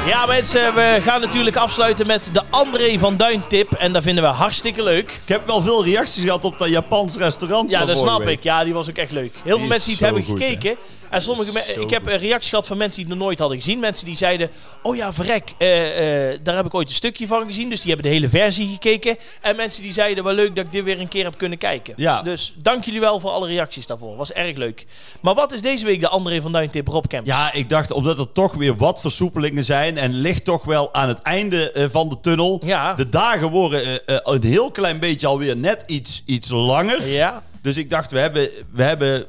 Speaker 1: Ja mensen, we gaan natuurlijk afsluiten met de André van Duin tip. En dat vinden we hartstikke leuk.
Speaker 2: Ik heb wel veel reacties gehad op dat Japans restaurant.
Speaker 1: Ja,
Speaker 2: van
Speaker 1: dat
Speaker 2: vorige
Speaker 1: snap
Speaker 2: week.
Speaker 1: ik. Ja, die was ook echt leuk. Heel veel
Speaker 2: is
Speaker 1: mensen die het
Speaker 2: zo
Speaker 1: hebben
Speaker 2: goed,
Speaker 1: gekeken. En sommige me-
Speaker 2: Zo
Speaker 1: ik heb
Speaker 2: goed.
Speaker 1: een reactie gehad van mensen die het nog nooit hadden gezien. Mensen die zeiden: Oh ja, verrek, eh, eh, daar heb ik ooit een stukje van gezien. Dus die hebben de hele versie gekeken. En mensen die zeiden: Wel leuk dat ik dit weer een keer heb kunnen kijken.
Speaker 2: Ja.
Speaker 1: Dus dank jullie wel voor alle reacties daarvoor. Was erg leuk. Maar wat is deze week de André van Duin tip Rob Camps?
Speaker 2: Ja, ik dacht omdat er toch weer wat versoepelingen zijn en ligt toch wel aan het einde eh, van de tunnel.
Speaker 1: Ja.
Speaker 2: De dagen worden eh, eh, een heel klein beetje alweer net iets, iets langer.
Speaker 1: Ja.
Speaker 2: Dus ik dacht, we hebben, we hebben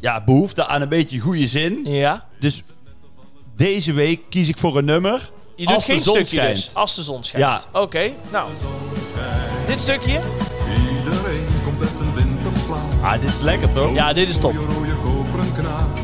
Speaker 2: ja, behoefte aan een beetje goede zin.
Speaker 1: Ja.
Speaker 2: Dus deze week kies ik voor een nummer.
Speaker 1: Je doet
Speaker 2: als
Speaker 1: geen
Speaker 2: de zon
Speaker 1: stukje
Speaker 2: schijnt.
Speaker 1: dus. Als de zon schijnt.
Speaker 2: Ja.
Speaker 1: Oké, nou. Dit stukje?
Speaker 4: Iedereen komt uit zijn winterslaan.
Speaker 2: Ah, dit is lekker toch?
Speaker 1: Ja, dit is top.
Speaker 4: Je rode koperen knaap.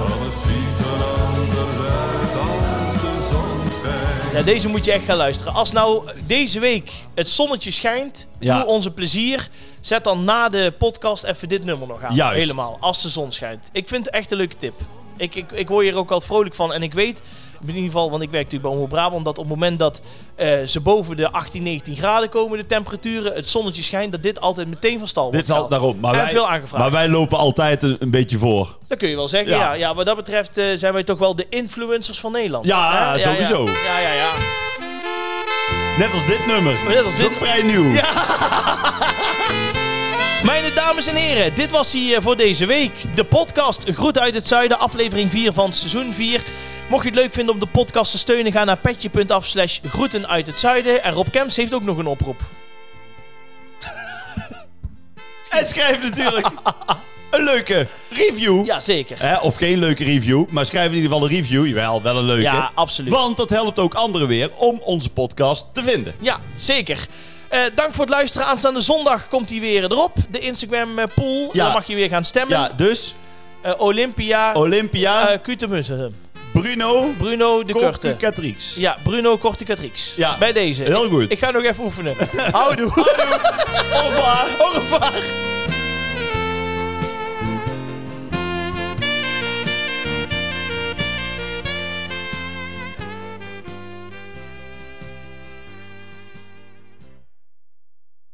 Speaker 4: Alles ziet er anders uit als de zon schijnt.
Speaker 1: Ja, deze moet je echt gaan luisteren. Als nou deze week het zonnetje schijnt,
Speaker 2: Ja.
Speaker 1: doe ons een plezier. Zet dan na de podcast even dit nummer nog aan.
Speaker 2: Juist.
Speaker 1: Helemaal, als de zon schijnt. Ik vind het echt een leuke tip. Ik, ik, ik word hier ook altijd vrolijk van. En ik weet, in ieder geval, want ik werk natuurlijk bij Omroep Brabant... dat op het moment dat eh, ze boven de 18, 19 graden komen, de temperaturen... het zonnetje schijnt, dat dit altijd meteen van stal wordt
Speaker 2: Dit is al
Speaker 1: gehaald.
Speaker 2: daarop. Maar
Speaker 1: en
Speaker 2: wij,
Speaker 1: veel aangevraagd.
Speaker 2: maar wij lopen altijd een, een beetje voor.
Speaker 1: Dat kun je wel zeggen, ja.
Speaker 2: Ja.
Speaker 1: Ja, wat dat betreft eh, zijn wij toch wel de influencers van Nederland.
Speaker 2: Ja,
Speaker 1: Hè?
Speaker 2: sowieso.
Speaker 1: Ja, ja, ja.
Speaker 2: Net als dit nummer.
Speaker 1: Net als
Speaker 2: Dat is
Speaker 1: dit-
Speaker 2: ook vrij nieuw.
Speaker 1: Ja. Mijn dames en heren, dit was hier voor deze week. De podcast Groet uit het Zuiden, aflevering 4 van seizoen 4. Mocht je het leuk vinden om de podcast te steunen, ga naar petje.af slash groeten uit het zuiden. En Rob Kemps heeft ook nog een oproep.
Speaker 2: En schrijf natuurlijk een leuke review.
Speaker 1: Jazeker.
Speaker 2: Hè, of geen leuke review, maar schrijf in ieder geval een review. Jawel, wel een leuke.
Speaker 1: Ja, absoluut.
Speaker 2: Want dat helpt ook anderen weer om onze podcast te vinden.
Speaker 1: Ja, zeker. Eh, dank voor het luisteren. Aanstaande zondag komt hij weer erop. De Instagram eh, poll.
Speaker 2: Ja.
Speaker 1: Daar mag je weer gaan stemmen.
Speaker 2: Ja, dus
Speaker 1: Eh, Olympia.
Speaker 2: Olympia,
Speaker 1: eh, Cutemus, eh,
Speaker 2: Bruno,
Speaker 1: Bruno de Kurte.
Speaker 2: Catrix.
Speaker 1: Ja, Bruno Kortekatrix.
Speaker 2: Ja.
Speaker 1: Bij deze.
Speaker 2: Heel goed.
Speaker 1: Ik ga nog even oefenen. Houdoe.
Speaker 2: Au revoir.
Speaker 1: Au revoir.